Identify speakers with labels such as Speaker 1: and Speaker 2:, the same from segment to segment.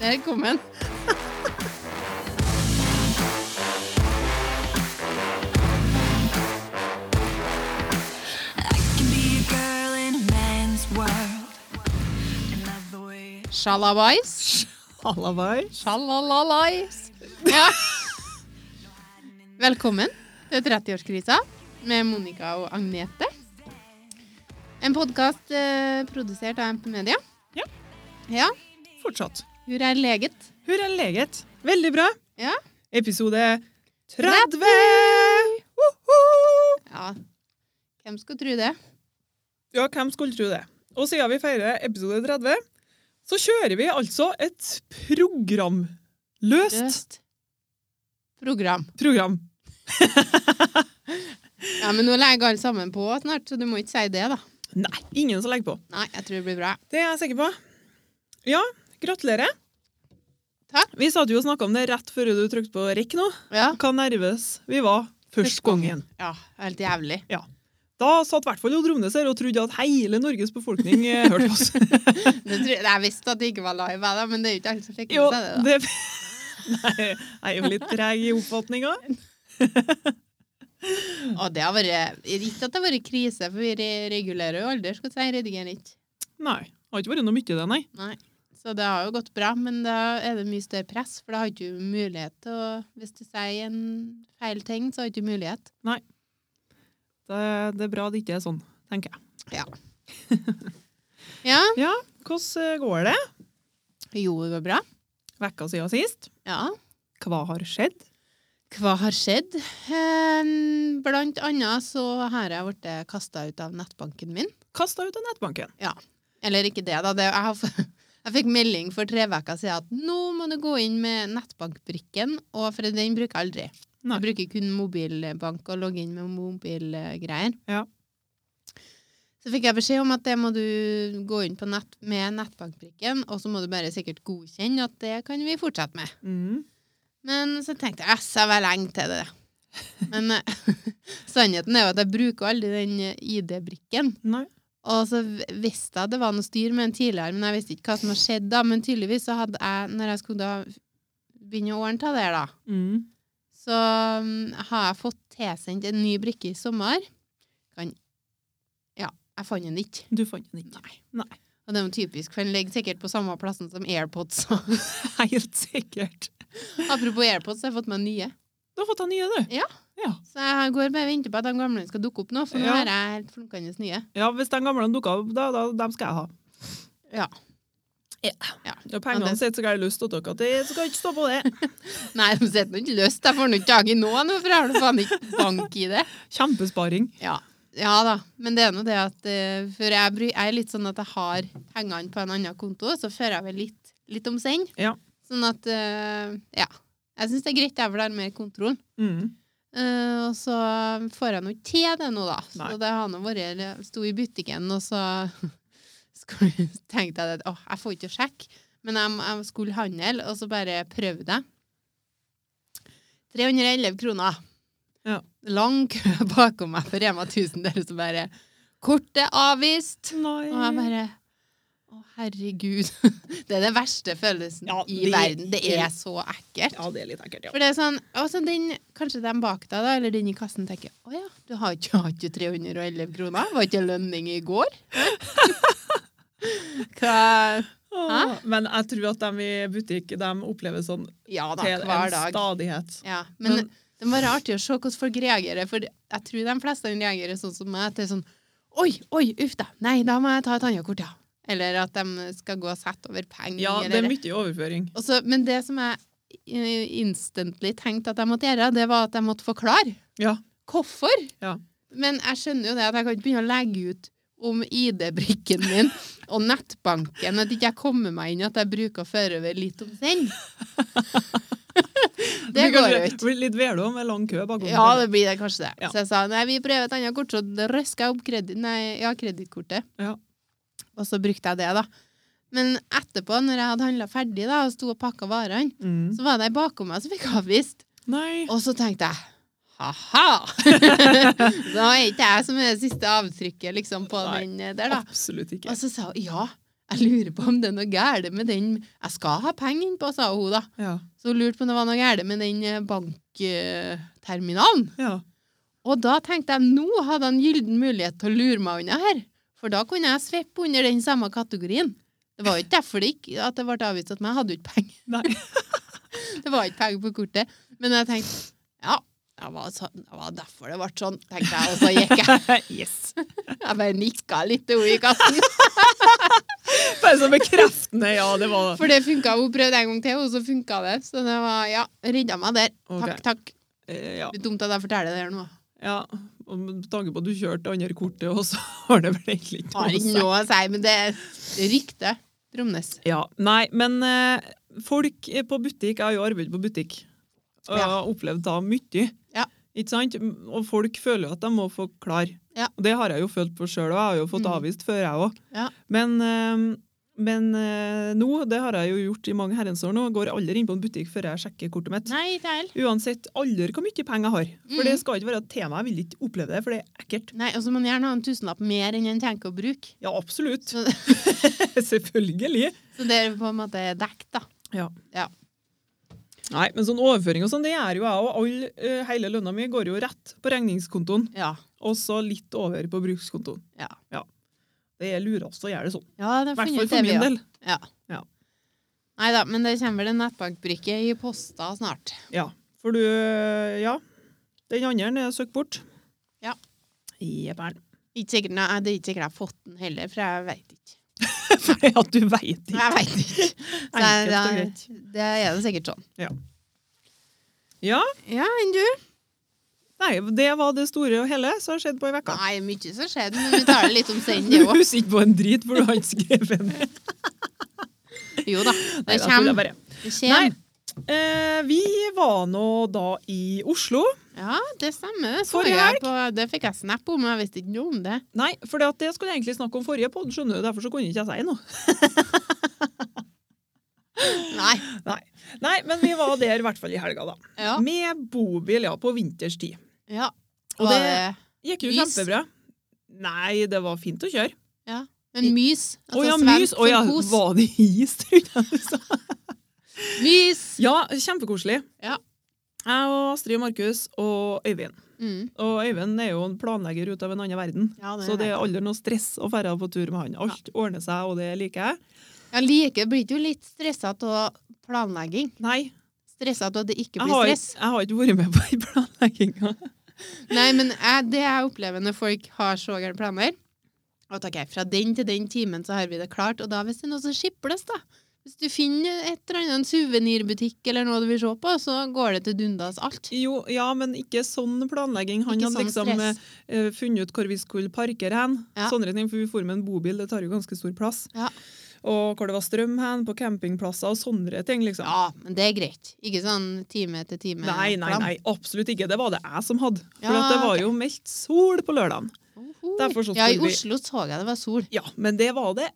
Speaker 1: Velkommen.
Speaker 2: I can be a girl in a man's world. And love the way
Speaker 1: Shalabais.
Speaker 3: Hallabais.
Speaker 1: Shalalalais. Ja. Velkommen til 30-årskrisa med Monica og Agnete. En podkast eh, produsert av MP Media.
Speaker 3: Ja.
Speaker 1: Ja,
Speaker 3: Fortsatt.
Speaker 1: Hvor er leget?
Speaker 3: Hurra leget. Veldig bra.
Speaker 1: Ja.
Speaker 3: Episode
Speaker 1: 30.
Speaker 3: 30! Woho!
Speaker 1: ja. Hvem skulle tro det?
Speaker 3: Ja, hvem skulle tro det? Og siden vi feirer episode 30, så kjører vi altså et programløst
Speaker 1: Løst program.
Speaker 3: program.
Speaker 1: Ja, Men nå legger alle sammen på snart, så du må ikke si det, da.
Speaker 3: Nei, ingen som legger på.
Speaker 1: Nei, jeg tror det blir bra.
Speaker 3: Det er jeg sikker på. Ja, gratulerer.
Speaker 1: Takk.
Speaker 3: Vi satt jo og snakka om det rett før du trykte på rekk nå.
Speaker 1: Ja.
Speaker 3: Hva nervøs vi var
Speaker 1: Første
Speaker 3: først
Speaker 1: gang.
Speaker 3: gangen.
Speaker 1: ja helt jævlig.
Speaker 3: Da satt i hvert fall Dromnes her og trodde at hele Norges befolkning eh, hørte oss.
Speaker 1: Det tror jeg, jeg visste at det ikke var live, jeg, da, men det er jo ikke alle som fikk
Speaker 3: Jo,
Speaker 1: med seg det. da.
Speaker 3: det Nei, jeg er jo litt treg i oppfatninga.
Speaker 1: Og det har vært Ikke at det har vært krise, for vi re- regulerer jo aldri, skal jeg si, redigerer ikke.
Speaker 3: Nei. Det har ikke vært noe mye, det, nei.
Speaker 1: Så det har jo gått bra, men da er det mye større press, for da har ikke du mulighet til å Hvis du sier en feil ting, så har ikke du mulighet.
Speaker 3: Det, det er bra det ikke er sånn, tenker jeg.
Speaker 1: Ja,
Speaker 3: Ja, hvordan eh, går det?
Speaker 1: jo, det går bra.
Speaker 3: Vekka siden sist.
Speaker 1: Ja.
Speaker 3: Hva har skjedd?
Speaker 1: Hva har skjedd? Ehm, Blant annet så har jeg blitt kasta ut av nettbanken min.
Speaker 3: Kasta ut av nettbanken.
Speaker 1: Eller ikke det, da. Det, jeg, har, f- jeg fikk melding for tre uker siden at nå må du gå inn med nettbankbrikken, og for den bruker jeg aldri.
Speaker 3: Nei.
Speaker 1: Jeg bruker kun mobilbank og logger inn med mobilgreier.
Speaker 3: Ja.
Speaker 1: Så fikk jeg beskjed om at det må du gå inn på nett med nettbankbrikken, og så må du bare sikkert godkjenne at det kan vi fortsette med.
Speaker 3: Mm.
Speaker 1: Men så tenkte jeg at jeg var lenge til det. Men eh, sannheten er jo at jeg bruker aldri den eh, ID-brikken.
Speaker 3: Nei.
Speaker 1: Og så v- visste jeg at det var noe styr med den tidligere, men jeg visste ikke hva som hadde skjedd da. Men tydeligvis så hadde jeg, når jeg skulle da begynne å ordne til det her da,
Speaker 3: Mm.
Speaker 1: så mm, har jeg fått tilsendt en ny brikke i sommer. Kan Ja, jeg fant den ikke.
Speaker 3: Du fant den ikke? Nei.
Speaker 1: Og det er jo typisk, for den ligger sikkert på samme plassen som AirPods.
Speaker 3: Helt sikkert.
Speaker 1: Apropos AirPods, så har jeg fått meg nye.
Speaker 3: Du har fått deg nye, du.
Speaker 1: Så jeg går bare og venter på at de gamle skal dukke opp nå, for nå
Speaker 3: Ja.
Speaker 1: har jeg helt flunkende nye.
Speaker 3: Ja, hvis den gamle dukka opp, da, da dem skal jeg ha.
Speaker 1: Ja. Ja.
Speaker 3: ja. ja pengene
Speaker 1: Ja, det-
Speaker 3: sitt, så skal jeg lyst til dere at jeg skal ikke stå på det.
Speaker 1: Nei, de sitter nå ikke løst. Jeg får nå ikke tak i noen, for jeg har da faen ikke bank i det.
Speaker 3: Kjempesparing.
Speaker 1: Ja. ja da, men det er nå det at eh, For jeg, bry, jeg er litt sånn at jeg har pengene på en annen konto, så fører jeg vel litt, litt om send.
Speaker 3: Ja.
Speaker 1: Sånn at eh, Ja. Jeg syns det er greit, jeg vil ha mer kontroll.
Speaker 3: Mm.
Speaker 1: Eh, og så får jeg nå ikke til det nå, da.
Speaker 3: Nei.
Speaker 1: Så det har nå vært Jeg sto i butikken, og så skulle, tenkte jeg at åh, jeg får ikke sjekk. Men jeg, jeg skulle handle, og så bare prøvde jeg. 311 kroner.
Speaker 3: Ja.
Speaker 1: Lang kø bakom meg på Rema 1000 der som bare Kortet er avvist!
Speaker 3: Nei.
Speaker 1: Og jeg bare Å, herregud. Det er den verste følelsen
Speaker 3: Ja,
Speaker 1: i
Speaker 3: det
Speaker 1: verden. Det
Speaker 3: er-
Speaker 1: er så ekkelt.
Speaker 3: Ja, det er litt ekkelt, ja.
Speaker 1: For det er sånn, altså den, Kanskje den bak deg, da, eller den i kassen, tenker Å ja, du har ikke, har ikke 311 kroner? Var ikke lønning i går? Hva
Speaker 3: Åh, Men jeg tror at de i butikk de opplever sånn
Speaker 1: Ja da,
Speaker 3: til en
Speaker 1: hver dag.
Speaker 3: stadighet.
Speaker 1: Ja, men
Speaker 3: Men-
Speaker 1: det må være artig å se hvordan folk reagerer, for jeg tror de fleste reagerer sånn som meg, at det er sånn Oi, oi, uff da. Nei, da må jeg ta et annet kort, ja. Eller at de skal gå og sette over penger.
Speaker 3: Ja, det er mye overføring.
Speaker 1: Og så- men det som jeg eh, instantly tenkte at jeg måtte gjøre, det var at jeg måtte forklare.
Speaker 3: Ja.
Speaker 1: Hvorfor?
Speaker 3: Ja.
Speaker 1: Men jeg skjønner jo det at jeg kan ikke begynne å legge ut om ID-brikken min og nettbanken, at ikke jeg kommer meg inn, at jeg bruker å føre over litt om den. det
Speaker 3: kan
Speaker 1: går jo
Speaker 3: bli-
Speaker 1: ikke.
Speaker 3: bli Litt velo med lang kø bakom.
Speaker 1: Ja, det blir det kanskje det.
Speaker 3: Ja.
Speaker 1: Så jeg sa nei, vi prøver et annet kort, så røska jeg opp kredi nei, ja, kredittkortet.
Speaker 3: Ja.
Speaker 1: Og så brukte jeg det, da. Men etterpå, når jeg hadde handla ferdig da, og sto og pakka varene,
Speaker 3: Mm.
Speaker 1: så var det ei bakom meg som fikk avvist.
Speaker 3: Nei.
Speaker 1: Og så tenkte jeg ha-ha! da er ikke jeg som er det siste avtrykket liksom, på
Speaker 3: Nei,
Speaker 1: den der, da. Altså-
Speaker 3: Absolutt ikke.
Speaker 1: Og så sa hun ja, Jeg lurer på om det er noe gærent med den Jeg skal ha penger innpå, sa hun da.
Speaker 3: Ja.
Speaker 1: Så hun lurte på om det var noe gærent med den eh, bankterminalen.
Speaker 3: ja.
Speaker 1: Og da tenkte jeg nå hadde han gylden mulighet til å lure meg unna her. For da kunne jeg sveppe under den samme kategorien. Det var jo ikke derfor det ikke, at det ble avvist at meg. Jeg hadde jo ikke penger.
Speaker 3: Nei.
Speaker 1: Det var ikke penger på kortet. Men jeg tenkte ja, det var, så, det var derfor det ble sånn, tenkte jeg. Og så gikk jeg.
Speaker 3: yes.
Speaker 1: Jeg bare nikka litt til henne i kassen.
Speaker 3: Bare så bekreftende. Ja, det var
Speaker 1: For det funka. Hun prøvde en gang til, og så funka det. Så det var, ja, redda meg der.
Speaker 3: Ok.
Speaker 1: Takk, takk.
Speaker 3: eh, Ja.
Speaker 1: Det er dumt at jeg forteller det her nå.
Speaker 3: ja. Og med tanke på at du kjørte andre kortet, og så har det vel egentlig ikke
Speaker 1: Har ikke noe å si, men det er rykte. Tromnes.
Speaker 3: Ja, nei, men eh, folk er på butikk, jeg har jo arbeidet på butikk, og jeg
Speaker 1: Ja.
Speaker 3: har opplevd da mye.
Speaker 1: Ja.
Speaker 3: Ikke sant? Og folk føler jo at de må forklare.
Speaker 1: Ja.
Speaker 3: Og det har jeg jo følt på sjøl, og jeg har jo fått
Speaker 1: Mm.
Speaker 3: avvist før, jeg òg.
Speaker 1: Ja.
Speaker 3: Men, eh, men eh, nå, det har jeg jo gjort i mange herrens år nå, går aldri inn på en butikk før jeg sjekker kortet mitt.
Speaker 1: Nei, ikke jeg heller.
Speaker 3: Uansett aldri hvor mye penger jeg har. For
Speaker 1: Mm.
Speaker 3: det skal ikke være et tema, jeg vil ikke oppleve det, for det er ekkelt.
Speaker 1: Nei, og så må man gjerne ha en tusenlapp mer enn en tenker å bruke.
Speaker 3: Ja, absolutt.
Speaker 1: Så,
Speaker 3: Selvfølgelig.
Speaker 1: så det er på en måte dekt, da.
Speaker 3: Ja.
Speaker 1: Ja.
Speaker 3: Nei, men sånn overføring og sånn, det gjør jo jeg òg. All, eh, hele lønna mi går jo rett på regningskontoen,
Speaker 1: Ja.
Speaker 3: og så litt over på brukskontoen.
Speaker 1: Ja.
Speaker 3: Det er lurast å gjøre det sånn.
Speaker 1: ja det har
Speaker 3: I hvert
Speaker 1: funnet
Speaker 3: fall
Speaker 1: det
Speaker 3: for
Speaker 1: vi
Speaker 3: min
Speaker 1: har.
Speaker 3: del.
Speaker 1: Ja.
Speaker 3: Ja.
Speaker 1: Nei da, men det kommer vel en nettbankbrikke i posta snart.
Speaker 3: Ja. For du eh, Ja. Den andre er søkt bort.
Speaker 1: Ja.
Speaker 3: Jepper'n.
Speaker 1: Ikke sikkert, nei, det er ikke sikkert jeg har fått den heller, for jeg veit ikke.
Speaker 3: Fordi at du veit
Speaker 1: Jeg vet ikke. Så jeg,
Speaker 3: Enkelt
Speaker 1: det,
Speaker 3: og
Speaker 1: er, det er det sikkert sånn.
Speaker 3: Ja.
Speaker 1: Ja, enn du?
Speaker 3: Nei, det var det store og hele som har skjedd på ei uke.
Speaker 1: Nei, mye som skjedde, men vi tar det litt om senn, det
Speaker 3: Du
Speaker 1: òg.
Speaker 3: husker ikke på en drit, for du har ikke skrevet ned.
Speaker 1: Jo da, det
Speaker 3: Nei, da tuller jeg
Speaker 1: kommer.
Speaker 3: bare.
Speaker 1: Det kommer.
Speaker 3: Eh, vi var nå da i Oslo.
Speaker 1: Ja, det stemmer. Det, så
Speaker 3: Forrige
Speaker 1: jeg
Speaker 3: helg.
Speaker 1: på, det fikk jeg snap om, men jeg visste ikke noe om det.
Speaker 3: Nei, for det, at det skulle jeg egentlig snakke om forrige podd, skjønner du, derfor så kunne ikke jeg si noe.
Speaker 1: Nei.
Speaker 3: Nei, men vi var der i hvert fall i helga, da.
Speaker 1: Ja.
Speaker 3: Med bobil, ja, på vinterstid.
Speaker 1: ja.
Speaker 3: Og
Speaker 1: Var
Speaker 3: det
Speaker 1: det
Speaker 3: gikk jo
Speaker 1: Is?
Speaker 3: kjempebra. Nei, det var fint å kjøre.
Speaker 1: Men mys. Altså,
Speaker 3: Å ja, mus! Å ja,
Speaker 1: kos.
Speaker 3: var det is? trodde jeg du sa?
Speaker 1: Mys!
Speaker 3: ja, kjempekoselig.
Speaker 1: Ja.
Speaker 3: Jeg og Astrid og Markus og Øyvind.
Speaker 1: Mm.
Speaker 3: Og Øyvind er jo en planlegger ut av en annen verden.
Speaker 1: Ja, det
Speaker 3: Så
Speaker 1: vet
Speaker 3: det er
Speaker 1: jeg.
Speaker 3: aldri noe stress å dra på tur med han. Alt ordner seg, og det liker jeg.
Speaker 1: Jeg liker, blir ikke jo litt stressa av planlegging.
Speaker 3: Nei,
Speaker 1: Stressa av at det ikke
Speaker 3: jeg
Speaker 1: blir
Speaker 3: har,
Speaker 1: stress.
Speaker 3: jeg har ikke vært med på den planlegginga.
Speaker 1: Nei, men jeg, det jeg opplever når folk har så gærne planer at ok, Fra den til den timen så har vi det klart, og da hvis det er noe som skiples, da Hvis du finner et eller annet, en suvenirbutikk eller noe du vil se på, så går det til dundas alt.
Speaker 3: Jo, ja, men ikke sånn planlegging. Han
Speaker 1: Ikke
Speaker 3: hadde
Speaker 1: sånn
Speaker 3: liksom
Speaker 1: stress.
Speaker 3: eh, funnet ut hvor vi skulle parkere hen.
Speaker 1: Ja.
Speaker 3: Sånne ting, for vi for med en bobil, det tar jo ganske stor plass.
Speaker 1: Ja.
Speaker 3: Og hvor det var strøm hen, på campingplasser og sånne ting, liksom.
Speaker 1: Ja, men det er greit. Ikke sånn time etter time.
Speaker 3: Nei, nei, nei, absolutt ikke. Det var det jeg som hadde. For
Speaker 1: Ja,
Speaker 3: at det var
Speaker 1: ok.
Speaker 3: jo meldt sol på lørdagen.
Speaker 1: Oho.
Speaker 3: Derfor så
Speaker 1: Uhuh. ja, i
Speaker 3: skulle vi-
Speaker 1: Oslo så jeg det var sol.
Speaker 3: Ja, men det var det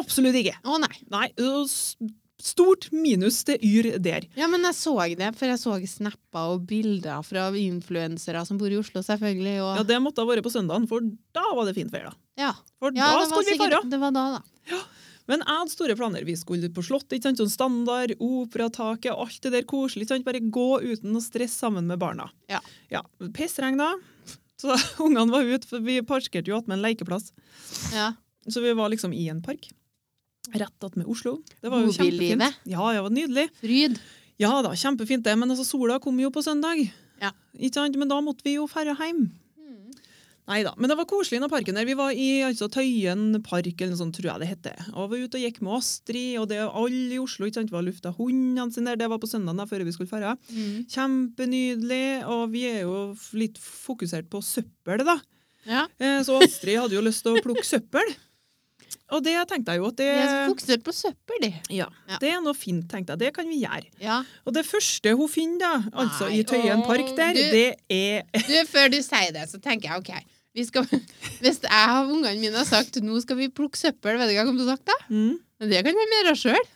Speaker 3: absolutt ikke.
Speaker 1: Å nei.
Speaker 3: Nei, ø, s- stort minus til Yr der.
Speaker 1: Ja, men jeg så det, for jeg så snapper og bilder fra influensere som bor i Oslo, selvfølgelig. Og,
Speaker 3: Ja, det måtte ha vært på søndagen, for da var det fint vær, da.
Speaker 1: ja.
Speaker 3: For
Speaker 1: Ja, det
Speaker 3: da
Speaker 1: var
Speaker 3: skulle vi
Speaker 1: sikkert
Speaker 3: fare.
Speaker 1: det var da, da.
Speaker 3: Men jeg hadde store planer. Vi skulle på slottet, ikke sant? sånn standard, operataket, alt det der koselig. Ikke sant? Bare gå uten å stresse sammen med barna.
Speaker 1: Ja.
Speaker 3: ja. Pissregna. Så ungene var ute, for vi parkerte jo attmed en lekeplass.
Speaker 1: Ja.
Speaker 3: Så vi var liksom i en park. Rett attmed Oslo. Det var jo
Speaker 1: Bobillivet.
Speaker 3: kjempefint. Ja, det var nydelig.
Speaker 1: Fryd.
Speaker 3: Ja da, kjempefint det, men altså, sola kom jo på søndag.
Speaker 1: Ja. Hmm.
Speaker 3: Ikke sant? Men da måtte vi jo færre hjem. Nei da, men det var koselig inne i parken der. Vi var i altså, Tøyen park, eller noe sånt, tror jeg det heter. Og var ute og gikk med Astrid, og det alle i Oslo ikke sant, var lufta hundene sine der. Det var på søndagen da, før vi skulle færre.
Speaker 1: Mm.
Speaker 3: Kjempenydelig, og vi er jo f- litt fokusert på søppel, da.
Speaker 1: Ja.
Speaker 3: Eh, Så Astrid hadde jo lyst til å plukke søppel. Og det tenkte jeg jo at det,
Speaker 1: De er så fokusert på søppel, de.
Speaker 3: ja,
Speaker 1: Ja.
Speaker 3: det er noe fint, tenkte jeg. Det kan vi gjøre.
Speaker 1: Ja.
Speaker 3: Og det første hun finner, da, altså
Speaker 1: Nei,
Speaker 3: i Tøyen
Speaker 1: å,
Speaker 3: park der,
Speaker 1: du-
Speaker 3: det er
Speaker 1: Du, før du sier det, så tenker jeg OK. Vi skal, hvis jeg og ungene mine har sagt nå skal vi plukke søppel, vet du hva jeg kommer til å sagt da?
Speaker 3: mm,
Speaker 1: Men det kan de gjøre sjøl.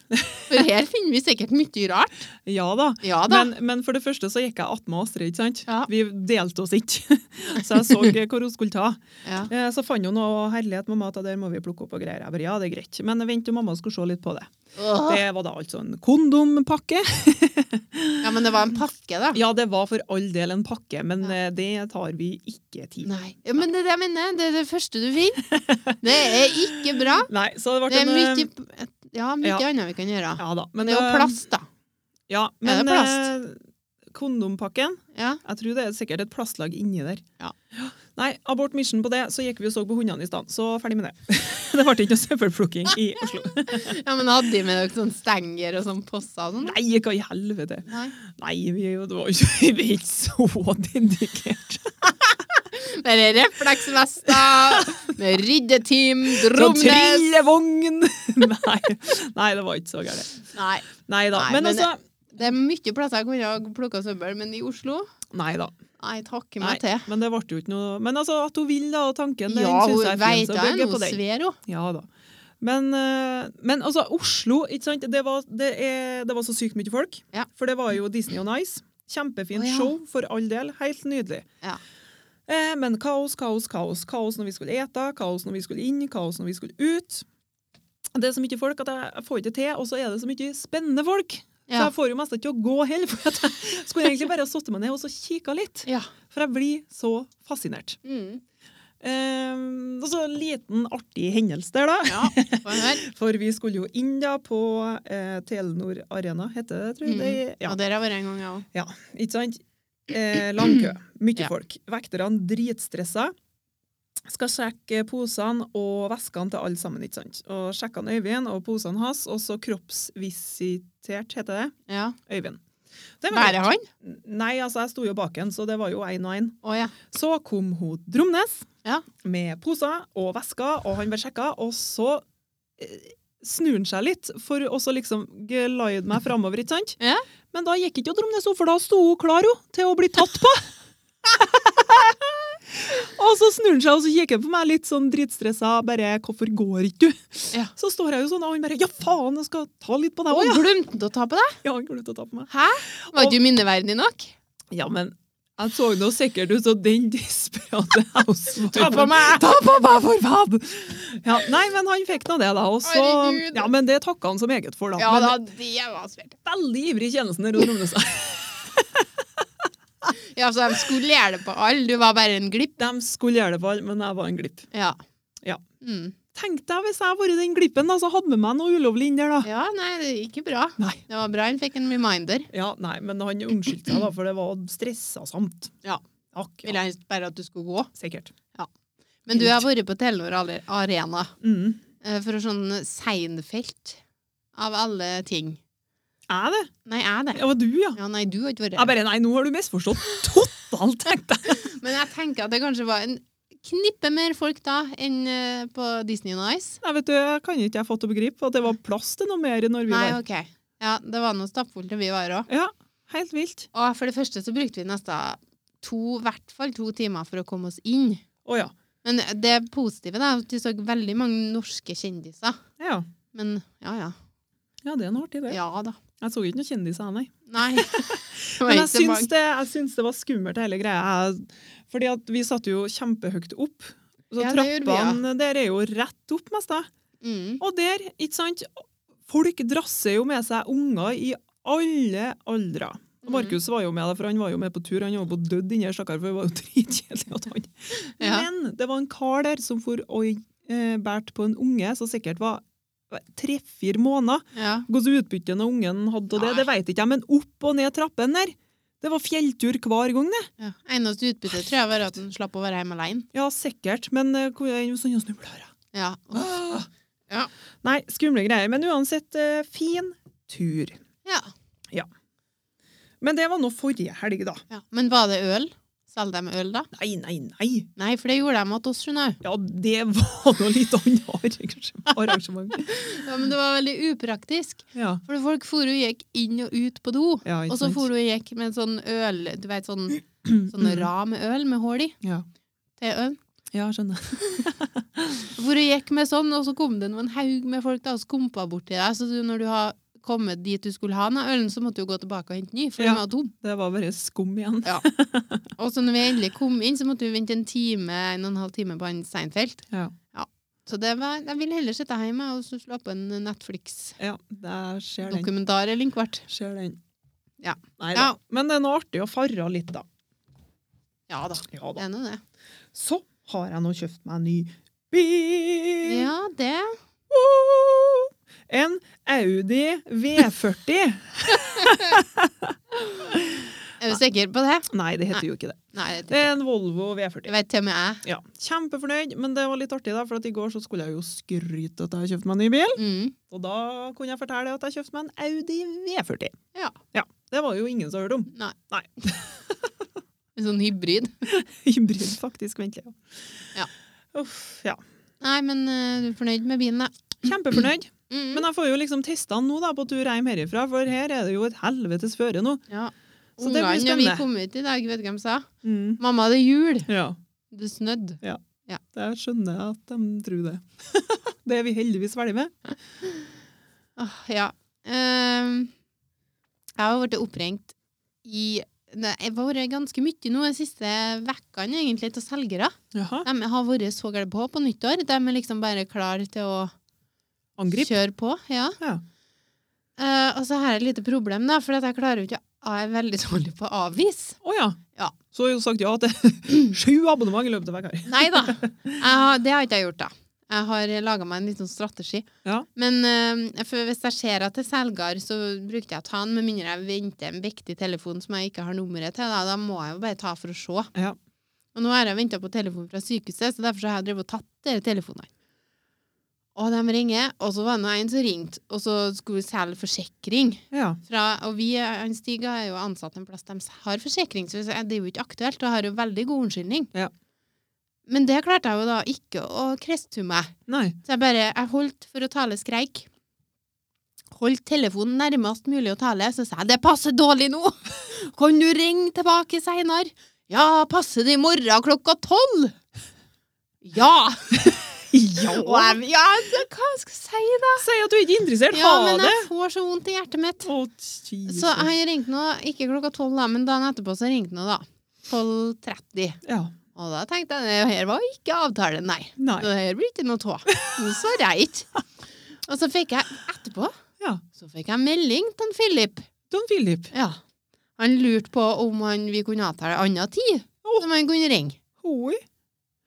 Speaker 1: For her finner vi sikkert mye rart.
Speaker 3: Ja da.
Speaker 1: Ja da.
Speaker 3: Men, men for det første så gikk jeg attmed Astrid, ikke sant?
Speaker 1: Ja.
Speaker 3: Vi delte oss ikke. så jeg så hvor hun skulle ta.
Speaker 1: Ja.
Speaker 3: Eh, Så fant hun noe herlighet mamma, at det der må vi plukke opp og greier. Jeg bare, ja, det er greit. Men vent til mamma skulle se litt på det.
Speaker 1: Åh.
Speaker 3: Det var da altså en kondompakke.
Speaker 1: ja, men det var en pakke, da.
Speaker 3: Ja, det var for all del en pakke, men
Speaker 1: Ja.
Speaker 3: eh, det tar vi ikke tid.
Speaker 1: Nei. Ja, men det er det jeg mener. Det er det første du finner. Det er ikke bra.
Speaker 3: Nei, så det ble
Speaker 1: Det er
Speaker 3: en... eh,
Speaker 1: mye, ja, mye
Speaker 3: ja.
Speaker 1: annet vi kan gjøre.
Speaker 3: Ja da.
Speaker 1: Men det er jo
Speaker 3: eh,
Speaker 1: plast, da.
Speaker 3: Ja,
Speaker 1: det
Speaker 3: men
Speaker 1: plast?
Speaker 3: eh, kondompakken,
Speaker 1: Ja.
Speaker 3: jeg tror det er sikkert et plastlag inni der.
Speaker 1: Ja.
Speaker 3: Nei, abort mission på det, så gikk vi og så på hundene i stand, så ferdig med det. det ble ikke noe søppelplukking i Oslo.
Speaker 1: ja, men hadde de med dere sånn stenger og sånn posser og sånn?
Speaker 3: Nei, hva i helvete.
Speaker 1: Nei.
Speaker 3: Nei, vi er jo det var jo ikke, vi er ikke så dedikert.
Speaker 1: Med refleksvester, med ryddeteam, Dromnes
Speaker 3: trillevogn! Nei, nei, det var ikke så gærent.
Speaker 1: Nei.
Speaker 3: Nei da.
Speaker 1: Nei,
Speaker 3: men,
Speaker 1: men
Speaker 3: altså
Speaker 1: Det er mye plasser jeg kunne ha plukka søppel, men i Oslo
Speaker 3: Nei da.
Speaker 1: Nei, takker
Speaker 3: Nei,
Speaker 1: meg til.
Speaker 3: men det ble jo ikke noe Men altså, at hun vil, da, og tanken den
Speaker 1: Ja,
Speaker 3: synes
Speaker 1: hun
Speaker 3: jeg er fin,
Speaker 1: veit
Speaker 3: så
Speaker 1: jeg
Speaker 3: bygger
Speaker 1: er
Speaker 3: jeg på
Speaker 1: noe
Speaker 3: den.
Speaker 1: sver, hun.
Speaker 3: Ja da. Men, eh, men altså, Oslo, ikke sant? Det var, det er, det var så sykt mye folk.
Speaker 1: Ja.
Speaker 3: For det var jo Disney on Ice. Kjempefint
Speaker 1: Å, ja.
Speaker 3: show, for all del. Helt nydelig.
Speaker 1: Ja.
Speaker 3: Eh, men kaos, kaos, kaos. Kaos når vi skulle ete, kaos når vi skulle inn, kaos når vi skulle ut. Det er så mye folk at jeg jeg får ikke til, og så er det så mye spennende folk. Så
Speaker 1: Ja.
Speaker 3: jeg får jo mest ikke til å gå heller. For at jeg skulle egentlig bare ha satt meg ned og så kikka litt.
Speaker 1: Ja.
Speaker 3: For jeg blir så fascinert.
Speaker 1: Mm.
Speaker 3: Um, og så en liten artig hendelse der, da.
Speaker 1: ja. Får jeg høre.
Speaker 3: For vi skulle jo inn da på eh, Telenor Arena, heter det, tror jeg. Det, ja.
Speaker 1: Og der har jeg vært en gang, jeg òg.
Speaker 3: ja, ikke sant? Eh, lang kø. Mye
Speaker 1: Ja.
Speaker 3: folk. Vekterne dritstressa. Skal sjekke posene og veskene til alle sammen. ikke sant? Og sjekka han Øyvind og posene hans, og så kroppsvisitert, heter det.
Speaker 1: Ja.
Speaker 3: Øyvind. Det var
Speaker 1: Bærer
Speaker 3: greit.
Speaker 1: han?
Speaker 3: Nei, altså, jeg sto jo bak ham, så det var jo én og én.
Speaker 1: Å ja.
Speaker 3: Så kom hun Dromnes
Speaker 1: Ja.
Speaker 3: med poser og vesker, og han ble sjekka, og så eh, snur han seg litt for å så liksom glide meg framover, ikke sant?
Speaker 1: Ja.
Speaker 3: Men da gikk ikke Dromnes opp, for da sto hun klar hun, til å bli tatt på. og så snur han seg og så kikker han på meg litt sånn dritstressa. Bare 'Hvorfor går ikke du?'
Speaker 1: Ja.
Speaker 3: Så står jeg jo sånn, og han bare 'Ja, faen, jeg skal ta litt på deg
Speaker 1: Og
Speaker 3: òg', ja.
Speaker 1: glemte han å ta på deg?
Speaker 3: ja. Han glemte å ta på meg.
Speaker 1: Hæ? Var ikke du minneverdig nok?
Speaker 3: Ja, men jeg så nå sikkert ut som den desperate housewife.
Speaker 1: Ta på meg!
Speaker 3: Ta på meg, for faen! Ja, nei, men han fikk nå det, da. Og så,
Speaker 1: Herregud.
Speaker 3: ja, men det takka han så meget for, da.
Speaker 1: Ja da,
Speaker 3: men
Speaker 1: det var svært.
Speaker 3: veldig ivrig i tjenesten der hos Romnes.
Speaker 1: Ja, så de skulle gjøre det på alle. Du var bare en glipp.
Speaker 3: De skulle gjøre det for, men jeg var en glipp.
Speaker 1: Ja.
Speaker 3: Ja.
Speaker 1: Mm.
Speaker 3: Tenk deg hvis jeg hadde vært den glippen, da, så hadde med meg noe ulovlig inn der, da.
Speaker 1: ja, nei, det gikk jo bra.
Speaker 3: Nei.
Speaker 1: Det var bra han fikk en reminder.
Speaker 3: Ja, nei, men han unnskyldte seg, da, for det var stressa samt.
Speaker 1: Ja.
Speaker 3: Akkurat.
Speaker 1: Ville han bare at du skulle gå.
Speaker 3: Sikkert.
Speaker 1: Men du har vært på Telenor alle- Arena
Speaker 3: Mm.
Speaker 1: eh, for å sånn Seinfeld av alle ting.
Speaker 3: Er det?
Speaker 1: Nei, jeg det.
Speaker 3: Ja, var du, ja.
Speaker 1: Ja, nei, du har ikke
Speaker 3: Jeg
Speaker 1: vært
Speaker 3: bare, nei, nå har du misforstått totalt, tenkte jeg.
Speaker 1: Men jeg tenker at det kanskje var en knippe mer folk da enn eh, på Disney on Ice.
Speaker 3: Nei, vet du, jeg kan ikke jeg få til å begripe at det var plass til noe mer når vi
Speaker 1: Nei,
Speaker 3: var
Speaker 1: OK. Ja, det var noe stappfullt da vi var her òg.
Speaker 3: Ja, helt vilt.
Speaker 1: Og for det første så brukte vi nesten to, i hvert fall to timer for å komme oss inn.
Speaker 3: Å ja.
Speaker 1: Men det positive da, er at du så veldig mange norske kjendiser.
Speaker 3: ja.
Speaker 1: Men ja, ja.
Speaker 3: Ja, det er noe artig, det.
Speaker 1: Ja da.
Speaker 3: Jeg så ikke noen kjendiser, nei.
Speaker 1: Nei.
Speaker 3: Men jeg syns, det, jeg syns det var skummelt, hele greia. Jeg- Fordi at vi satt jo kjempehøyt opp. Så
Speaker 1: Ja, det gjorde vi, ja.
Speaker 3: trappene der er jo rett opp, mest da.
Speaker 1: Mm.
Speaker 3: Og der, ikke sant, folk drasser jo med seg unger i alle aldre.
Speaker 1: Mhm.
Speaker 3: Og Markus var jo med, da, for han var jo med på tur. Han var jo på dødd inni her, stakkar, for det var jo dritkjedelig at han
Speaker 1: Ja.
Speaker 3: Men det var en kar der som for og eh, bært på en unge som sikkert var tre-fire måneder.
Speaker 1: Ja.
Speaker 3: Hvordan utbyttet når ungen hadde og det,
Speaker 1: Nei.
Speaker 3: det vet ikke jeg, men opp og ned trappen der, det var fjelltur hver gang, det.
Speaker 1: ja. Eneste utbytte tror jeg var at han slapp å være hjemme alene.
Speaker 3: Ja, sikkert, men eh, hvor er det sånne snubler? da?
Speaker 1: Ja.
Speaker 3: Åh.
Speaker 1: Ja.
Speaker 3: Nei, skumle greier, men uansett, eh, fin tur.
Speaker 1: ja.
Speaker 3: Men det var nå forrige helg, da.
Speaker 1: ja. Men var det øl? Solgte de øl da?
Speaker 3: Nei, nei, nei.
Speaker 1: Nei, for det gjorde de mot oss, skjønner du.
Speaker 3: Ja, det var noe litt annet arrangement.
Speaker 1: Ja, men det var veldig upraktisk.
Speaker 3: Ja,
Speaker 1: For folk for og gikk inn og ut på do.
Speaker 3: ja
Speaker 1: Og
Speaker 3: ikke
Speaker 1: så
Speaker 3: sant.
Speaker 1: for hun og gikk med en sånn øl, du vet, sånn, sånn
Speaker 3: Mm.
Speaker 1: ra med øl med hål i
Speaker 3: Ja.
Speaker 1: til øl.
Speaker 3: Ja, skjønner.
Speaker 1: Hvor jeg gikk med sånn, og så kom det en haug med folk da, og skumpa bort til deg. Så du, når du har kommet dit du skulle ha den ølen, så måtte du gå tilbake og hente ny, for
Speaker 3: Ja.
Speaker 1: den var tom.
Speaker 3: Det var bare skum igjen.
Speaker 1: Og så når vi endelig kom inn, så måtte vi vente en time, en og en halv time på han Seinfeld.
Speaker 3: Ja.
Speaker 1: Så det var, jeg ville heller sitte hjemme og så slå på en Netflix-dokumentar
Speaker 3: Ja, der skjer den.
Speaker 1: eller en kvart.
Speaker 3: Skjer den.
Speaker 1: Ja.
Speaker 3: Nei da.
Speaker 1: Ja.
Speaker 3: Men det er noe artig å fare litt, da.
Speaker 1: Ja da.
Speaker 3: Ja
Speaker 1: Det
Speaker 3: da.
Speaker 1: er nå det.
Speaker 3: Så har jeg nå kjøpt meg en ny bil.
Speaker 1: Ja, det.
Speaker 3: Wow! En Audi V40.
Speaker 1: Er du sikker på det?
Speaker 3: Nei, det heter jo ikke det.
Speaker 1: Nei, det
Speaker 3: Det er en Volvo V40.
Speaker 1: det vet til og med jeg.
Speaker 3: Ja, Kjempefornøyd, men det var litt artig, da, for at i går så skulle jeg jo skryte at jeg har kjøpt meg en ny bil.
Speaker 1: Mm.
Speaker 3: Og da kunne jeg fortelle at jeg kjøpte meg en Audi V40.
Speaker 1: Ja.
Speaker 3: Det var jo ingen som hørte om.
Speaker 1: Nei.
Speaker 3: Nei.
Speaker 1: En Sånn hybrid.
Speaker 3: Hybrid, faktisk, vent litt.
Speaker 1: Ja.
Speaker 3: Uff, ja.
Speaker 1: Nei, men eh, du er fornøyd med bilen, da.
Speaker 3: Kjempefornøyd.
Speaker 1: Mm.
Speaker 3: Men jeg får jo liksom testa den nå da, på tur hjem herifra, for her er det jo et helvetes føre nå.
Speaker 1: ja.
Speaker 3: Så det blir
Speaker 1: Ungene, når vi
Speaker 3: spennende.
Speaker 1: kom ut i dag, vet du hva de sa? 'Mamma, det er jul!
Speaker 3: Ja,
Speaker 1: Det snødde'.
Speaker 3: det skjønner jeg at de tror det. det er vi heldigvis ferdig med.
Speaker 1: Åh, ja. Ehm, jeg har vært oppringt i Nei, Jeg har vært ganske mye nå de siste vekkene egentlig til selgere.
Speaker 3: Jaha.
Speaker 1: De har vært så gale på på nyttår. De er liksom bare klar til å
Speaker 3: Angrip.
Speaker 1: kjøre på. Ja.
Speaker 3: Ja.
Speaker 1: Eh, og så har jeg et lite problem, da, for at jeg klarer jo ikke Jeg er veldig dårlig på å avvise.
Speaker 3: Å ja.
Speaker 1: Ja.
Speaker 3: Så har jeg jo sagt ja til sju abonnement i løpet av hver gang.
Speaker 1: Nei da. Jeg har, det har ikke jeg gjort, da. Jeg har laga meg en liten strategi.
Speaker 3: Ja.
Speaker 1: Men eh, for hvis jeg ser at det er selger, så bruker jeg å ta den, med mindre jeg venter en viktig telefon som jeg ikke har nummeret til. Da, da må jeg jo bare ta for å se.
Speaker 3: Ja.
Speaker 1: Og nå har jeg venta på telefon fra sykehuset, så derfor så har jeg drevet og tatt dere telefonene. Og de ringer, og så var det nå en som ringte, og så skulle vi selge forsikring.
Speaker 3: Ja.
Speaker 1: Fra, og vi, han Stig er jo ansatt en plass de har forsikring, så det er jo ikke aktuelt, og jeg har jo veldig god unnskyldning.
Speaker 3: Ja.
Speaker 1: Men det klarte jeg jo da ikke å kresthue meg.
Speaker 3: Nei.
Speaker 1: Så jeg bare, jeg holdt for å tale skreik. Holdt telefonen nærmest mulig å tale, så sa jeg det passer dårlig nå! Kan du ringe tilbake seinere? Ja, passer det i morgen klokka tolv? Ja! Og
Speaker 3: Ja.
Speaker 1: jeg, ja, det- hva skal jeg si, da?
Speaker 3: Si at du er ikke interessert.
Speaker 1: Ja,
Speaker 3: ha
Speaker 1: men
Speaker 3: det!
Speaker 1: jeg får så vondt i hjertet mitt.
Speaker 3: Å,
Speaker 1: Så
Speaker 3: Jesus.
Speaker 1: han ringte nå, ikke klokka tolv, da, men dagen etterpå så ringte han nå, da. 12.30.
Speaker 3: Ja.
Speaker 1: Og da tenkte jeg det her var ikke avtale, nei.
Speaker 3: Nei.
Speaker 1: Det her blir ikke noe tå. Nå svarer jeg ikke. Og så fikk jeg etterpå
Speaker 3: Ja.
Speaker 1: så fikk jeg melding til en Philip.
Speaker 3: Don Philip.
Speaker 1: Ja. Han lurte på om han, vi kunne avtale annen tid,
Speaker 3: Åh.
Speaker 1: som han kunne ringe.
Speaker 3: Hoi.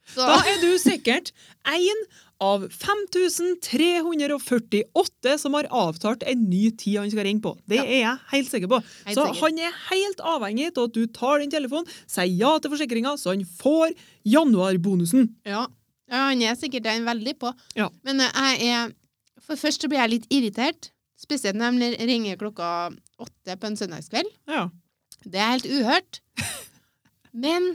Speaker 1: Så,
Speaker 3: Da er du sikkert en av 5348 som har avtalt en ny tid han skal ringe på. Det
Speaker 1: Ja.
Speaker 3: er jeg helt sikker på.
Speaker 1: Helt
Speaker 3: så
Speaker 1: sikker.
Speaker 3: han er helt avhengig av at du tar den telefonen, sier ja til forsikringa, så han får januarbonusen.
Speaker 1: ja. ja, han er sikkert en veldig på.
Speaker 3: Ja.
Speaker 1: Men eh, jeg er For først så blir jeg litt irritert, spesielt når de ringer klokka åtte på en søndagskveld.
Speaker 3: Ja.
Speaker 1: Det er helt uhørt. Men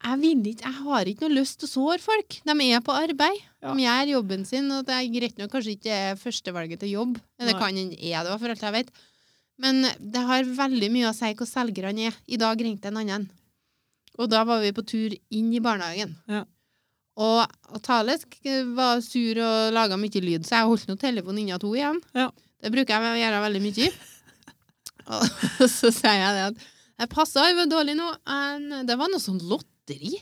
Speaker 1: jeg vil ikke, jeg har ikke noe lyst til å såre folk. De er på arbeid.
Speaker 3: Ja.
Speaker 1: De gjør jobben sin, og det er greit nok kanskje ikke er førstevalget til jobb. Men det
Speaker 3: Nei.
Speaker 1: kan hende er det, for alt jeg vet. Men det har veldig mye å si hvor selgerne er. I dag ringte en annen. Og da var vi på tur inn i barnehagen.
Speaker 3: Ja.
Speaker 1: Og, og Tale sk- var sur og laga mye lyd, så jeg holdt nå telefonen inna to igjen.
Speaker 3: Ja.
Speaker 1: Det bruker jeg å gjøre veldig mye. Og så sier jeg det at jeg passa, jeg var dårlig nå. men Det var noe sånn lotteri.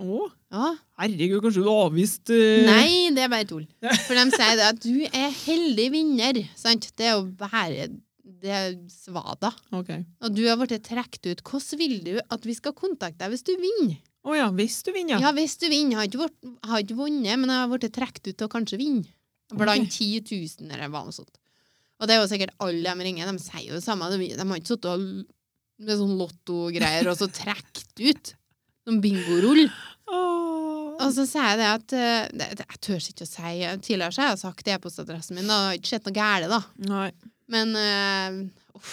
Speaker 3: Å,
Speaker 1: Ja.
Speaker 3: herregud, kanskje du avviste eh,
Speaker 1: Nei, det er bare tull. For de sier det at du er heldig vinner. Sant? Det er jo bare det er svada.
Speaker 3: Ok.
Speaker 1: Og du har blitt trukket ut. Hvordan vil du at vi skal kontakte deg hvis du vinner?
Speaker 3: Å ja, hvis du vinner.
Speaker 1: Ja, hvis du vinner. Jeg har ikke vært- jeg har ikke vunnet, men jeg har blitt trukket ut til å kanskje vinne. Blant 10 000, eller hva noe sånt. Og det er jo sikkert alle de ringer. De sier jo det samme. De, de har ikke sittet og l- med sånn lottogreier og så trukket ut. Som bingorull.
Speaker 3: Åh.
Speaker 1: Og så sier jeg det at eh, det, det, Jeg tør ikke å si eh, Tidligere så har jeg sagt e-postadressen min, da. Det har ikke skjedd noe gærent, da.
Speaker 3: Nei.
Speaker 1: Men eh, uff,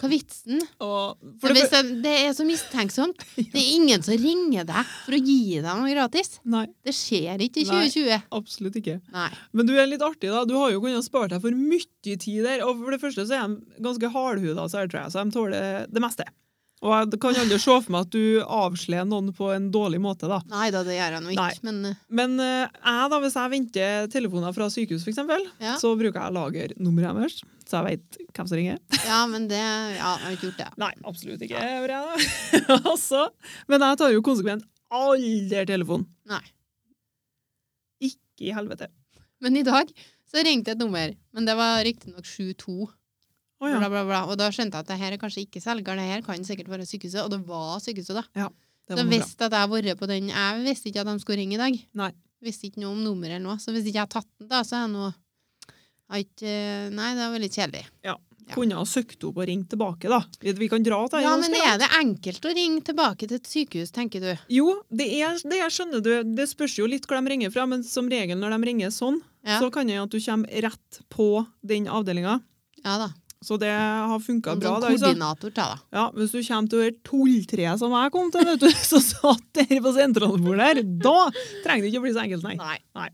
Speaker 1: hva er vitsen?
Speaker 3: Og,
Speaker 1: For
Speaker 3: for det,
Speaker 1: hvis det, det er så mistenksomt. Det er ingen som ringer deg for å gi deg noe gratis.
Speaker 3: nei,
Speaker 1: Det skjer ikke i
Speaker 3: Nei.
Speaker 1: 2020.
Speaker 3: absolutt ikke.
Speaker 1: Nei.
Speaker 3: Men du er litt artig, da. Du har jo kunnet spare deg for mye tid der. Og for det første så er de ganske hardhuda, så her, tror jeg, så de tåler det meste. Og jeg kan aldri se for meg at du avslører noen på en dårlig måte, da.
Speaker 1: Nei da, det gjør han jo ikke, men eh,
Speaker 3: Men eh, jeg, da, hvis jeg venter telefoner fra sykehus, for eksempel,
Speaker 1: Ja.
Speaker 3: så bruker jeg lagernummeret deres, så jeg vet hvem som ringer.
Speaker 1: ja, men det Ja, jeg har ikke gjort det.
Speaker 3: Nei, absolutt ikke. gjør jeg da. altså, men jeg tar jo konsekvent aldri telefonen.
Speaker 1: Nei.
Speaker 3: Ikke i helvete.
Speaker 1: Men i dag så ringte et nummer, men det var riktignok 72.
Speaker 3: Å
Speaker 1: bla,
Speaker 3: ja.
Speaker 1: bla, bla. Og da skjønte jeg at det her er kanskje ikke selger, det her kan sikkert være sykehuset. Og det var sykehuset, da.
Speaker 3: Det
Speaker 1: Så
Speaker 3: var bra.
Speaker 1: visste at jeg har vært på den Jeg visste ikke at de skulle ringe i dag.
Speaker 3: Nei.
Speaker 1: Visste ikke noe om nummeret eller noe. Så hvis ikke jeg har tatt den, da, så er jeg nå jeg har ikke, eh, Nei, det var litt kjedelig. ja.
Speaker 3: Kunne ha søkt opp og ringt tilbake, da. Vi- Vi kan dra til en
Speaker 1: Ja,
Speaker 3: ganske
Speaker 1: men
Speaker 3: langt.
Speaker 1: er det enkelt å ringe tilbake til et sykehus, tenker du?
Speaker 3: Jo, det er det jeg skjønner du. Det spørs jo litt hvor de ringer fra, men som regel når de ringer sånn,
Speaker 1: Ja,
Speaker 3: så kan det jo at du kommer rett på den avdelinga.
Speaker 1: ja da.
Speaker 3: Så det har funka
Speaker 1: En
Speaker 3: bra.
Speaker 1: sånn
Speaker 3: Da, ikke sant?
Speaker 1: koordinator, ta da.
Speaker 3: ja, hvis du kommer til det tulltreet som jeg kom til, vet du, så satt dere på sentralbordet her, da trenger det ikke å bli så enkelt, nei.
Speaker 1: Nei.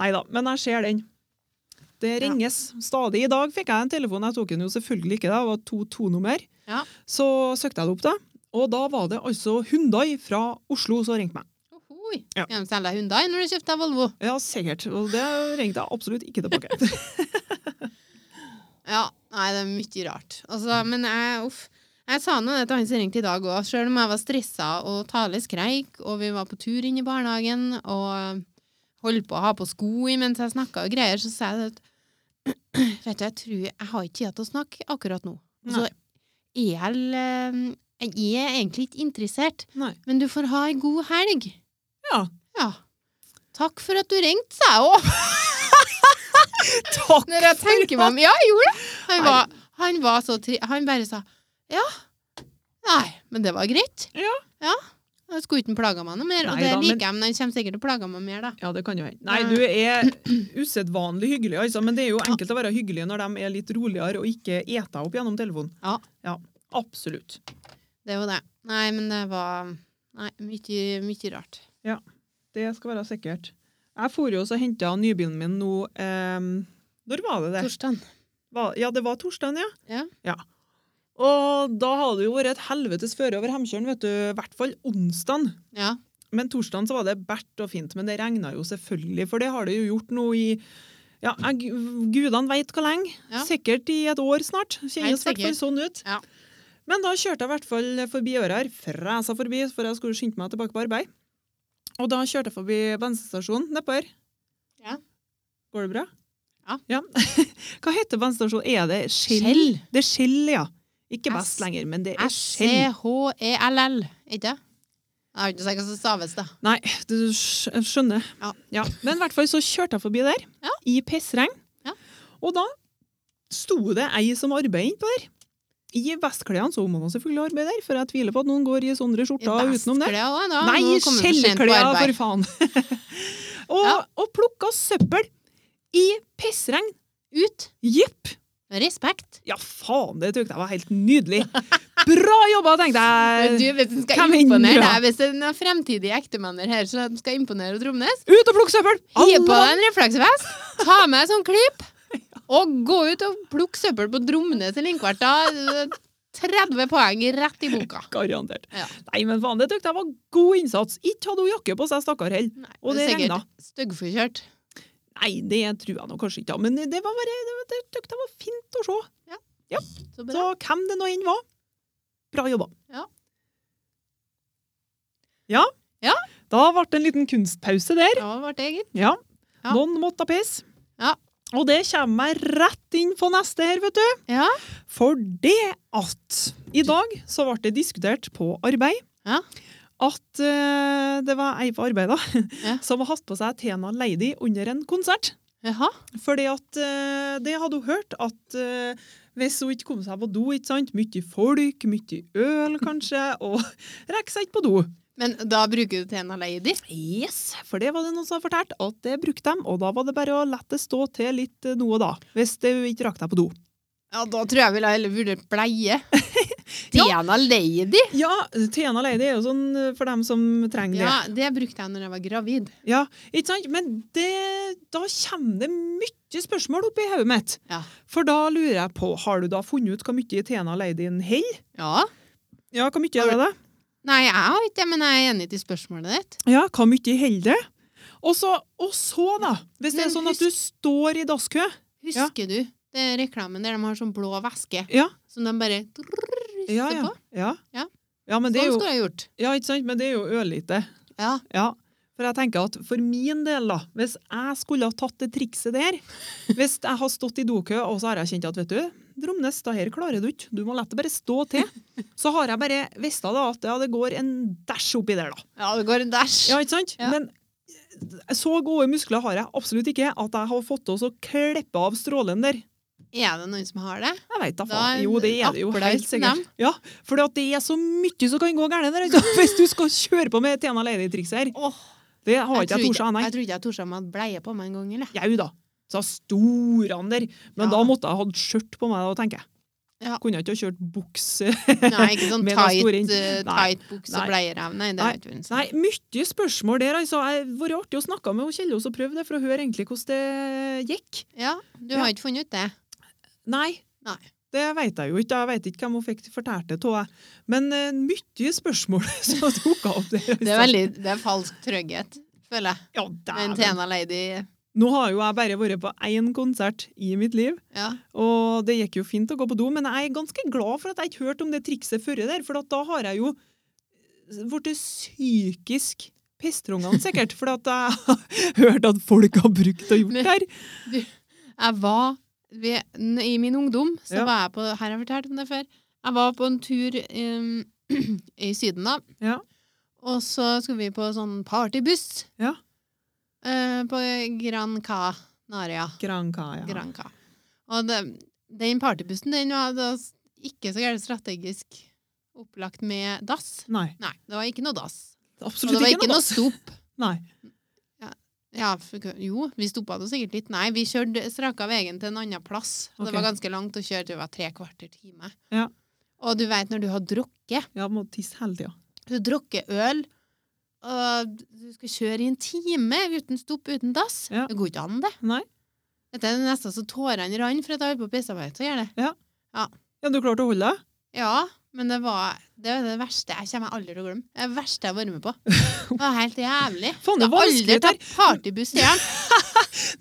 Speaker 3: Nei da, men jeg ser den. Det
Speaker 1: Ja.
Speaker 3: ringes stadig. I dag fikk jeg en telefon, jeg tok den jo selvfølgelig ikke, da. det var to to-nummer.
Speaker 1: Ja.
Speaker 3: Så søkte jeg det opp, da. Og da var det altså Hundai fra Oslo som ringte meg.
Speaker 1: Ohoi.
Speaker 3: Ja.
Speaker 1: Skal de selge deg Hyundai når du kjøpte deg Volvo?
Speaker 3: Ja, sikkert. Og det ringte jeg absolutt ikke tilbake.
Speaker 1: Ja, nei, det er mye rart. Altså, men jeg, uff. Jeg sa nå det til han som ringte i dag òg, sjøl om jeg var stressa og Tale skreik, og vi var på tur inn i barnehagen og holdt på å ha på sko mens jeg snakka og greier, så sa jeg det at Vet du, jeg tror jeg har ikke tid til å snakke akkurat nå. Og så
Speaker 3: Nei.
Speaker 1: er jeg eh, Jeg er egentlig ikke interessert,
Speaker 3: Nei.
Speaker 1: men du får ha ei god helg.
Speaker 3: Ja.
Speaker 1: Ja. Takk for at du ringte, sa jeg òg.
Speaker 3: Takk!
Speaker 1: Når jeg tenker meg om Ja, jeg gjorde det! Han
Speaker 3: Nei.
Speaker 1: var, han var så tri... Han bare sa ja. Nei, men det var greit.
Speaker 3: Ja.
Speaker 1: ja. Jeg skulle ikke han plage meg noe mer, og
Speaker 3: Nei
Speaker 1: det
Speaker 3: da, men-
Speaker 1: liker jeg, men han kommer sikkert til å plage meg mer, da.
Speaker 3: Ja, det kan jo hende. Nei, du er usedvanlig hyggelig, altså. Men det er jo enkelt å være hyggelig når de er litt roligere og ikke eter opp gjennom telefonen.
Speaker 1: Ja.
Speaker 3: ja. Absolutt.
Speaker 1: Det er jo det. Nei, men det var Nei, mye, mye rart.
Speaker 3: Det skal være sikkert. Jeg for jo også og henta nybilen min nå eh, Når var det det?
Speaker 1: Torsdagen.
Speaker 3: Var- Ja, det var torsdagen, ja.
Speaker 1: Ja.
Speaker 3: Og da hadde det jo vært et helvetes føre over Hemkjølen, vet du. I hvert fall onsdagen.
Speaker 1: Ja.
Speaker 3: Men torsdagen så var det bært og fint, men det regna jo selvfølgelig, for det har det jo gjort nå i ja, jeg- Gudene veit hvor lenge.
Speaker 1: Ja.
Speaker 3: Sikkert i et år snart.
Speaker 1: Helt
Speaker 3: Kjennes i hvert fall sånn ut.
Speaker 1: Ja.
Speaker 3: Men da kjørte jeg i hvert fall forbi øra her, fresa forbi, for jeg skulle skynde meg tilbake på arbeid. Og da kjørte jeg forbi bensinstasjonen nedpå her.
Speaker 1: Ja.
Speaker 3: Går det bra?
Speaker 1: Ja.
Speaker 3: Hva heter bensinstasjonen? Er det Skjell?
Speaker 1: Skjell.
Speaker 3: Det er Skjell, ja. Ikke
Speaker 1: S-
Speaker 3: Vest lenger, men det er Skjell.
Speaker 1: S-C-H-E-L-L, ikke det? Jeg har ikke sagt hva som staves, da.
Speaker 3: Nei, du skj- skjønner.
Speaker 1: Ja.
Speaker 3: Men i hvert fall så kjørte jeg forbi der,
Speaker 1: Ja.
Speaker 3: i pissregn.
Speaker 1: Ja.
Speaker 3: Og da sto det ei som arbeidet innpå der. I vestklærne, så må man selvfølgelig arbeide der, for jeg tviler på at noen går i sånne skjorter utenom det.
Speaker 1: Vestklær også, da.
Speaker 3: Nei,
Speaker 1: Nå kommer vi for sent på
Speaker 3: skjellklær,
Speaker 1: arbeid.
Speaker 3: for faen! og,
Speaker 1: Ja.
Speaker 3: og plukka søppel i pissregn.
Speaker 1: Ut.
Speaker 3: Jepp!
Speaker 1: Respekt.
Speaker 3: Ja, faen, det tykte jeg var helt nydelig. Bra jobba, tenkte
Speaker 1: Men du,
Speaker 3: jeg.
Speaker 1: hvis en skal
Speaker 3: Hvem vinner,
Speaker 1: imponere
Speaker 3: da?
Speaker 1: deg, hvis det er noen fremtidige ektemenner her som skal imponere Tromnes,
Speaker 3: Ut og plukke søppel!
Speaker 1: hiv på
Speaker 3: Alle-
Speaker 1: deg en refleksvest, ta med sånn klyp, og gå ut og plukk søppel på Tromnes eller Inkvart. Da 30 poeng rett i boka.
Speaker 3: Garantert.
Speaker 1: Ja.
Speaker 3: Nei, men faen, det tykte jeg var god innsats. Ikke hadde hun jakke på seg, stakkar heller.
Speaker 1: Nei,
Speaker 3: Og
Speaker 1: er
Speaker 3: det
Speaker 1: sikkert
Speaker 3: regnet.
Speaker 1: Styggforkjørt.
Speaker 3: Nei, det tror jeg nå kanskje ikke, da. men det var bare, det, det tykte jeg var fint å se.
Speaker 1: Så bra.
Speaker 3: Så hvem det nå enn var, bra jobba.
Speaker 1: Ja.
Speaker 3: Ja.
Speaker 1: Ja.
Speaker 3: Da ble det en liten kunstpause der.
Speaker 1: Da ble det gitt.
Speaker 3: Ja.
Speaker 1: Ja.
Speaker 3: Noen måtte pisse.
Speaker 1: Ja.
Speaker 3: Og det kommer jeg rett inn på neste her, vet du.
Speaker 1: Ja.
Speaker 3: For det at I dag så ble det diskutert på arbeid
Speaker 1: Ja.
Speaker 3: at eh, det var ei på arbeid da,
Speaker 1: Ja.
Speaker 3: som har hatt på seg Tena Lady under en konsert.
Speaker 1: Jaha.
Speaker 3: Fordi at eh, det hadde hun hørt at eh, hvis hun ikke kom seg på do, ikke sant? mye folk, mye øl kanskje, og rekker seg ikke på do.
Speaker 1: Men da bruker du Tena Lady.
Speaker 3: Yes, for det var det noen som hadde fortalt at det brukte dem, og da var det bare å la det stå til litt eh, nå og da, hvis det ikke rakk deg på do.
Speaker 1: Ja, da tror jeg ville jeg heller vurdert bleie. Tena Lady?
Speaker 3: Ja, Tena Lady er jo sånn eh, for dem som trenger det.
Speaker 1: Ja, det brukte jeg når jeg var gravid.
Speaker 3: Ja, ikke sant? Men det, da kommer det mye spørsmål opp i hodet mitt.
Speaker 1: Ja.
Speaker 3: For da lurer jeg på, har du da funnet ut hvor mye Tena Lady holder?
Speaker 1: Ja.
Speaker 3: Ja, hvor mye er det, da?
Speaker 1: Nei, jeg har ikke det, men jeg er enig i spørsmålet ditt.
Speaker 3: Ja, hvor mye holder det? Og så, og så, da, hvis det
Speaker 1: Men
Speaker 3: er sånn at du står i dasskø
Speaker 1: Husker du det er reklamen der de har sånn blå væske
Speaker 3: Ja,
Speaker 1: som de bare drrrr, rister
Speaker 3: ja, ja,
Speaker 1: på?
Speaker 3: ja.
Speaker 1: Ja.
Speaker 3: Ja, men
Speaker 1: Sånn
Speaker 3: det er jo,
Speaker 1: skulle jeg gjort.
Speaker 3: ja, ikke sant? Men det er jo ørlite.
Speaker 1: Ja.
Speaker 3: Ja. For jeg tenker at for min del, da, hvis jeg skulle ha tatt det trikset der Hvis jeg har stått i dokø, og så har jeg kjent at vet du, Dromnes, det her klarer du ikke. Du må la det bare stå til. Så har jeg bare visst da at ja, det går en dæsj oppi der, da.
Speaker 1: ja, det går en dæsj.
Speaker 3: Ja, ikke sant?
Speaker 1: Ja.
Speaker 3: Men eh, så gode muskler har jeg absolutt ikke at jeg har fått til å klippe av strålen der.
Speaker 1: Er det noen som har det?
Speaker 3: Jeg veit da
Speaker 1: Da
Speaker 3: faen. Jo, det er det jo
Speaker 1: applaus
Speaker 3: helt
Speaker 1: til
Speaker 3: sikkert.
Speaker 1: dem.
Speaker 3: Ja, for det er så mye som kan gå gærent der, altså, hvis du skal kjøre på med Tena Lady-trikset her.
Speaker 1: Åh,
Speaker 3: Det har ikke jeg
Speaker 1: tror
Speaker 3: tort, nei.
Speaker 1: jeg tror ikke jeg torde å ha bleie på meg en gang, eller?
Speaker 3: Jau da. Så stor han der. Men
Speaker 1: Ja.
Speaker 3: da måtte jeg hatt skjørt på meg, da, tenker jeg.
Speaker 1: Ja.
Speaker 3: Kunne jeg ikke ha kjørt bukse.
Speaker 1: Nei, ikke sånn
Speaker 3: Med den store
Speaker 1: tight,
Speaker 3: inn-
Speaker 1: eh,
Speaker 3: Nei.
Speaker 1: tight bukse
Speaker 3: Nei.
Speaker 1: og bleierev. Nei, det
Speaker 3: Nei.
Speaker 1: er ikke vunnet.
Speaker 3: Nei, mye spørsmål der, altså. Det hadde vært artig å snakke med hun Kjellås og prøve det, for å høre egentlig hvordan det gikk.
Speaker 1: Ja, du
Speaker 3: Ja.
Speaker 1: har ikke funnet ut det?
Speaker 3: Nei.
Speaker 1: Nei.
Speaker 3: Det vet jeg jo ikke. Jeg vet ikke hvem hun fikk fortalt det av. Men eh, mye spørsmål som dukka opp der. altså.
Speaker 1: Det er, veldig, det er falsk trygghet, føler jeg.
Speaker 3: Ja,
Speaker 1: Men
Speaker 3: dæven.
Speaker 1: Tena Lady
Speaker 3: Nå har jo jeg bare vært på én konsert i mitt liv,
Speaker 1: ja.
Speaker 3: og det gikk jo fint å gå på do, men jeg er ganske glad for at jeg ikke hørte om det trikset før der, for at da har jeg jo blitt psykisk pestrungene sikkert, for at jeg har hørt at folk har brukt og gjort det her.
Speaker 1: Jeg var ved, n- I min ungdom så
Speaker 3: Ja.
Speaker 1: var jeg på Her har jeg fortalt om det før. Jeg var på en tur em, i Syden, da.
Speaker 3: Ja.
Speaker 1: Og så skulle vi på sånn partybuss
Speaker 3: Ja.
Speaker 1: eh, på Gran Canaria.
Speaker 3: Granka, ja.
Speaker 1: Gran Ca. Og det, den partybussen den var da s- ikke så gærent strategisk opplagt med dass.
Speaker 3: Nei,
Speaker 1: Nei, det var ikke noe dass. Og
Speaker 3: absolutt
Speaker 1: det var
Speaker 3: ikke
Speaker 1: ikke
Speaker 3: noe.
Speaker 1: noe stopp.
Speaker 3: Nei.
Speaker 1: Ja, for, jo, vi stoppa nå sikkert litt. Nei, vi kjørte straka veien til en annen plass. Og
Speaker 3: Ok.
Speaker 1: Det var ganske langt å kjøre, det var tre kvarter time.
Speaker 3: Ja.
Speaker 1: Og du veit når du har drukket,
Speaker 3: Jeg må tisse hele tida.
Speaker 1: du har drukket øl, og du skal kjøre i en time uten stopp, uten dass.
Speaker 3: Ja.
Speaker 1: Det går ikke an, det.
Speaker 3: Nei.
Speaker 1: Dette er nesten så tårene rant for at jeg holdt på å pisse meg ut. Så gjerne.
Speaker 3: Ja, du klarte å holde deg?
Speaker 1: Ja, men det var det, var det verste jeg kommer aldri til å glemme. Det er det verste jeg har vært med på. Det var helt jævlig.
Speaker 3: Faen, det er
Speaker 1: Jeg har aldri
Speaker 3: vanskelig det her.
Speaker 1: tatt partybuss igjen.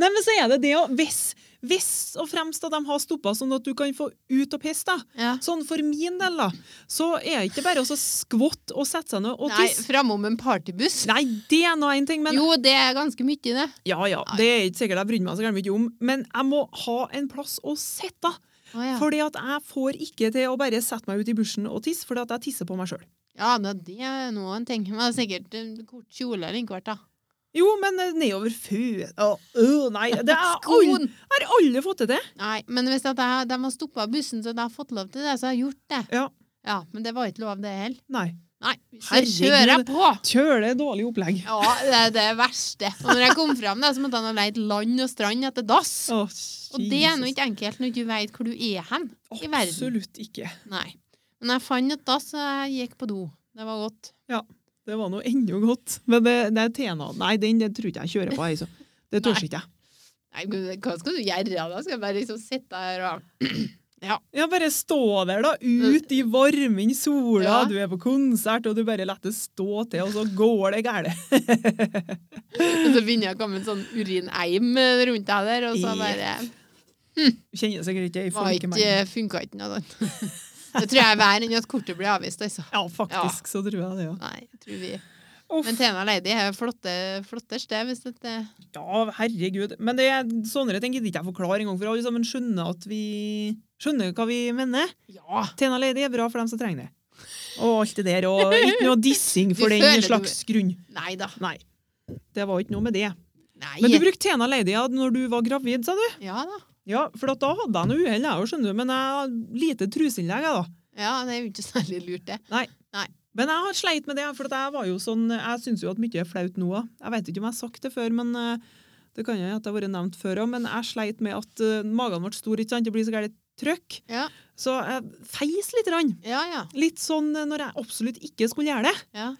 Speaker 3: Nei, men så er det det å hvis, hvis og fremst at de har stoppa sånn at du kan få ut og pisse, da.
Speaker 1: Ja.
Speaker 3: Sånn for min del, da, så er det ikke bare å så skvotte og sette seg ned og
Speaker 1: Nei,
Speaker 3: tisse.
Speaker 1: framom en partybuss.
Speaker 3: Nei, det er nå én ting, men
Speaker 1: jo, det er ganske mye, det.
Speaker 3: ja, ja, det er ikke sikkert jeg brydde meg så gærent mye om. Men jeg må ha en plass å sitte.
Speaker 1: Å, ja.
Speaker 3: Fordi at jeg får ikke til å bare sette meg ut i bushen og tisse, fordi at jeg tisser på meg sjøl.
Speaker 1: ja, da, det er nå en ting. Men det er sikkert en kort kjole eller en kvart, da.
Speaker 3: Jo, men eh, nedover fø... Å, øh, nei, det er
Speaker 1: Skoen!
Speaker 3: aldri, har alle fått til det.
Speaker 1: Nei, men hvis at jeg, de har stoppa bussen, så de har fått lov til det, så har jeg gjort det.
Speaker 3: Ja.
Speaker 1: ja men det var ikke lov, det heller.
Speaker 3: Nei.
Speaker 1: Nei, så
Speaker 3: Herregud.
Speaker 1: kjører jeg på!
Speaker 3: Kjøle dårlig opplegg.
Speaker 1: Ja, det er det verste. Og når jeg kom fram, da, så måtte han ha leid land og strand etter dass.
Speaker 3: Å,
Speaker 1: Og det er nå
Speaker 3: Jesus.
Speaker 1: ikke enkelt når du ikke vet hvor du er hen. i verden.
Speaker 3: Absolutt ikke.
Speaker 1: Nei. Men jeg fant et dass, og jeg gikk på do. Det var godt.
Speaker 3: Det var noe ennå godt. Men det, det er Tena. Nei, den det tror ikke jeg kjører på. Jeg, så. Det tør
Speaker 1: Nei.
Speaker 3: ikke jeg.
Speaker 1: Nei, gud, hva skal du gjøre da? Skal jeg bare liksom sitte her og
Speaker 3: Ja, bare stå der, da. Ut i varmen, sola.
Speaker 1: Mm. Ja.
Speaker 3: Du er på konsert, og du bare lar det stå til, og så går det galt.
Speaker 1: Og så begynner jeg å komme en sånn urineim rundt deg der, og så bare
Speaker 3: Kjenner sikkert ikke jeg
Speaker 1: var
Speaker 3: for ikke
Speaker 1: ikke,
Speaker 3: meg.
Speaker 1: funka ikke noe sånt. Det tror jeg er verre enn at kortet blir avvist, altså.
Speaker 3: Ja, faktisk så tror jeg det, ja.
Speaker 1: Nei, jeg tror vi
Speaker 3: Uff,
Speaker 1: Men Tena Lady er jo flotte- flottest, det, hvis det
Speaker 3: ja, herregud. Men det er sånne ting gidder ikke jeg forklare engang, for alle sammen skjønner at vi skjønner hva vi mener.
Speaker 1: Ja!
Speaker 3: Tena Lady er bra for dem som trenger det. Og alt det der, og ikke noe dissing for
Speaker 1: Du
Speaker 3: den
Speaker 1: føler du-
Speaker 3: slags grunn.
Speaker 1: Nei da.
Speaker 3: Nei. Det var ikke noe med det.
Speaker 1: Nei.
Speaker 3: Men du brukte Tena Lady ja, når du var gravid, sa du?
Speaker 1: Ja da.
Speaker 3: Ja, for at da hadde jeg noe uhell, jeg òg, skjønner du. Men jeg hadde lite truseinnlegg, jeg, da.
Speaker 1: Ja, det er jo ikke særlig lurt, det.
Speaker 3: Men jeg har sleit med det, for at jeg var jo sånn Jeg syns jo at mye er flaut nå òg. Jeg vet ikke om jeg har sagt det før, men eh, det kan jo hende at det har vært nevnt før òg. Men jeg sleit med at eh, magen ble stor, ikke sant. Det blir så gærent trøkk.
Speaker 1: Ja.
Speaker 3: Så jeg feis litt. Rann.
Speaker 1: Ja, ja.
Speaker 3: Litt sånn eh, når jeg absolutt ikke skulle gjøre det.
Speaker 1: ja.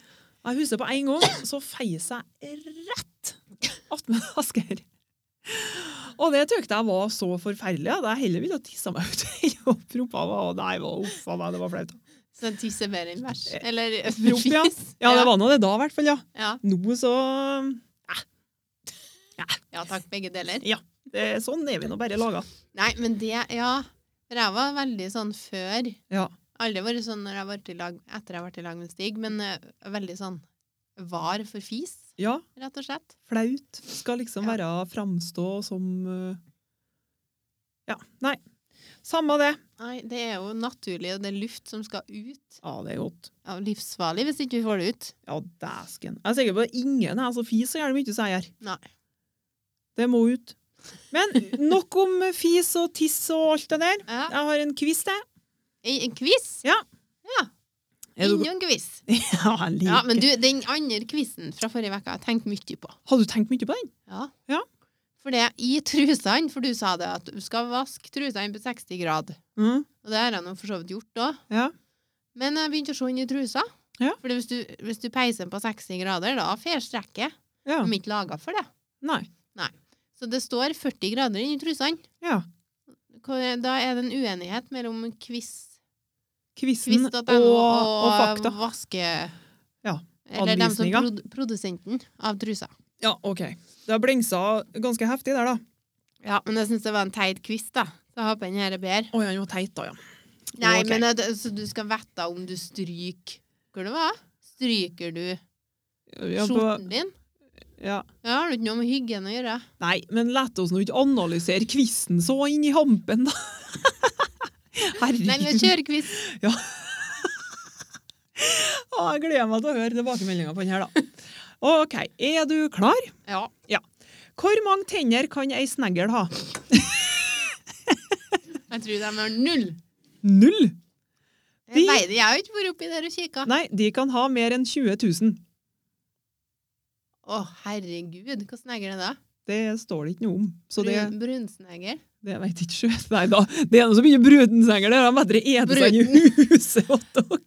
Speaker 3: Jeg husker på en gang, så feis jeg rett attmed Asker. Og det tykte jeg var så forferdelig at jeg heller ville tisse meg ut enn å proppe av. Og nei, hva- uff a meg, det var flaut.
Speaker 1: Så tisse mer enn bæsj. Eller
Speaker 3: Rop, ja.
Speaker 1: fis.
Speaker 3: Eh, Ja, det var nå det da, i hvert fall. ja.
Speaker 1: Ja.
Speaker 3: Nå så
Speaker 1: ja takk, begge deler.
Speaker 3: det, Sånn er vi nå bare laga.
Speaker 1: Nei, men det Ja. For jeg var veldig sånn før.
Speaker 3: Ja.
Speaker 1: Aldri vært sånn når jeg var i lag, etter jeg ble i lag med Stig, men eh, veldig sånn var for fis,
Speaker 3: ja.
Speaker 1: rett og slett.
Speaker 3: Flaut. Skal liksom
Speaker 1: Ja.
Speaker 3: være framstå som eh, Ja. Nei. Samme det.
Speaker 1: Nei, det er jo naturlig, og det er luft som skal ut.
Speaker 3: Ja, det er godt.
Speaker 1: Ja, livsfarlig hvis ikke vi får det ut.
Speaker 3: Ja, dæsken. Jeg er sikker på at ingen her som fiser så jævlig mye som jeg gjør.
Speaker 1: Nei.
Speaker 3: Det må ut. Men nok om fis og tiss og alt det der.
Speaker 1: Ja.
Speaker 3: Jeg har en quiz, jeg.
Speaker 1: En en quiz?
Speaker 3: Ja.
Speaker 1: Ja,
Speaker 3: Er du-
Speaker 1: Enda en quiz.
Speaker 3: Ja, jeg liker.
Speaker 1: Ja, men du, den andre quizen fra forrige uke har jeg tenkt mye på.
Speaker 3: Har du tenkt mye på den?
Speaker 1: Ja.
Speaker 3: Ja.
Speaker 1: For det er i trusene, for du sa det at du skal vaske trusene på 60 grad.
Speaker 3: Mm.
Speaker 1: Og det har jeg nå for så vidt gjort òg.
Speaker 3: Ja.
Speaker 1: Men jeg begynte å se inn i trusa.
Speaker 3: Ja.
Speaker 1: For hvis, du- hvis du peiser den på 60 grader, da fer strekket.
Speaker 3: ja.
Speaker 1: De er ikke laga for det.
Speaker 3: Nei.
Speaker 1: Så det står 40 grader inni trusene.
Speaker 3: Ja.
Speaker 1: Hvor- Da er det en uenighet mellom quiz,
Speaker 3: Quizen
Speaker 1: quiz.no og,
Speaker 3: og,
Speaker 1: um,
Speaker 3: og fakta.
Speaker 1: vaske...
Speaker 3: Ja,
Speaker 1: Eller dem som
Speaker 3: anvisninger.
Speaker 1: prod produsenten av trusa.
Speaker 3: Ja, OK. Det har blingsa ganske heftig der, da.
Speaker 1: Ja, men jeg syns det var en teit quiz, da. Så jeg håper den her er bedre.
Speaker 3: Å ja, den var teit, da, ja.
Speaker 1: Nei,
Speaker 3: Ok.
Speaker 1: men at, så du skal vite om du stryker Hvor det var? Stryker du
Speaker 3: ja, på,
Speaker 1: skjorten din?
Speaker 3: ja.
Speaker 1: Ja, har du ikke noe med hygien å gjøre?
Speaker 3: Nei, men la oss nå ikke analysere quizen så inn i hampen, da.
Speaker 1: Nei, men
Speaker 3: Herregud.
Speaker 1: kjør quiz!
Speaker 3: Å, jeg gleder meg til å høre tilbakemeldinga på den her, da. OK, er du klar?
Speaker 1: Ja.
Speaker 3: Hvor mange tenner kan ei snegl ha?
Speaker 1: Jeg tror de har null.
Speaker 3: Null! De-
Speaker 1: Jeg vet det, jeg har jo ikke vært oppi der og kikka.
Speaker 3: Nei, de kan ha mer enn 20 000.
Speaker 1: Å, herregud, hva snegler er det da?
Speaker 3: Det står det ikke noe om. Så det,
Speaker 1: Brun, brunsnegler?
Speaker 3: det vet ikke sjø. Nei da, det er noe som mye brudensengel, det er bedre ete seg i huset åt dere.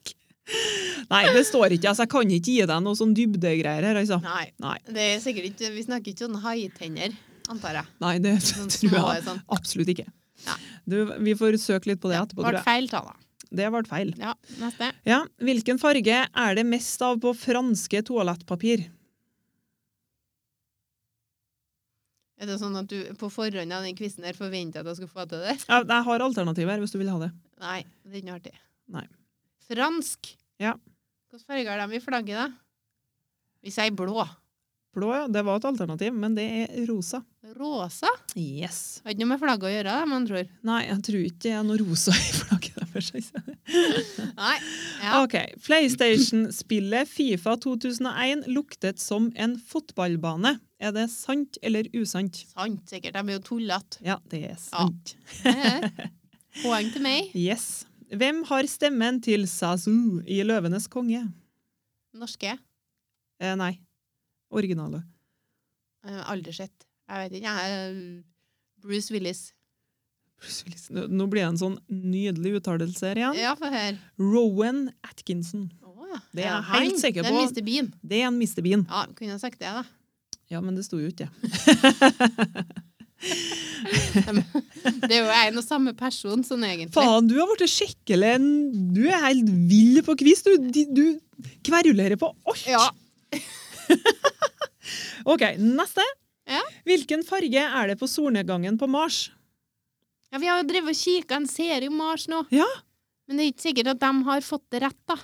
Speaker 3: Nei, det står ikke. Altså, jeg kan ikke gi deg noe sånn dybdegreier her, altså.
Speaker 1: Nei.
Speaker 3: Nei.
Speaker 1: Det er sikkert ikke, Vi snakker ikke sånn haitenner, antar jeg.
Speaker 3: Nei, det
Speaker 1: Sånn
Speaker 3: tror
Speaker 1: små
Speaker 3: jeg
Speaker 1: sånn.
Speaker 3: absolutt ikke.
Speaker 1: Nei.
Speaker 3: Du, vi får søke litt på det etterpå, tror
Speaker 1: Ble
Speaker 3: jeg.
Speaker 1: feil tall, da.
Speaker 3: Det ble feil.
Speaker 1: Ja, neste.
Speaker 3: Ja, hvilken farge er det mest av på franske toalettpapir?
Speaker 1: Er det sånn at du på forhånd av den quizen her forventa at jeg skulle få til det?
Speaker 3: Jeg, jeg har alternativer hvis du vil ha det.
Speaker 1: Nei, det er ikke noe artig.
Speaker 3: Nei.
Speaker 1: Fransk.
Speaker 3: Ja.
Speaker 1: Hvilken farge har de i flagget, da? Vi sier blå.
Speaker 3: Blå, ja. Det var et alternativ, men det er rosa.
Speaker 1: Rosa?
Speaker 3: Yes.
Speaker 1: Har ikke noe med flagget å gjøre, da, man tror.
Speaker 3: Nei, jeg tror ikke det er noe rosa i flagget der. for seg selv.
Speaker 1: Nei. Ja.
Speaker 3: Ok, PlayStation-spillet Fifa 2001 luktet som en fotballbane. Er det sant eller usant?
Speaker 1: Sant, sikkert. De blir jo tullete.
Speaker 3: Ja, det er sant.
Speaker 1: Det er det. Poeng til meg.
Speaker 3: Yes. Hvem har stemmen til Sasu i Løvenes konge?
Speaker 1: Norske.
Speaker 3: Eh, nei. Originale.
Speaker 1: Jeg har Aldri sett. Jeg vet ikke. Jeg er Bruce Willis.
Speaker 3: Bruce Willis. Nå nå blir det en sånn nydelig uttalelse her igjen.
Speaker 1: Ja, få høre.
Speaker 3: Rowan Atkinson.
Speaker 1: Å,
Speaker 3: Det er jeg
Speaker 1: han.
Speaker 3: helt sikker
Speaker 1: Det
Speaker 3: på.
Speaker 1: er Mr. Bean.
Speaker 3: Det er en Mr. Bean.
Speaker 1: Ja, kunne jeg sagt det, da.
Speaker 3: Ja, men det sto jo ikke.
Speaker 1: Det er jo en og samme person, sånn egentlig.
Speaker 3: Faen, du har blitt skikkelig en- Du er helt vill på quiz. Du, De- du kverulerer på alt.
Speaker 1: Ja.
Speaker 3: OK, neste.
Speaker 1: Ja.
Speaker 3: Hvilken farge er det på solnedgangen på Mars?
Speaker 1: Ja, vi har jo drevet og kikka en serie om Mars nå.
Speaker 3: Ja.
Speaker 1: Men det er ikke sikkert at de har fått det rett, da.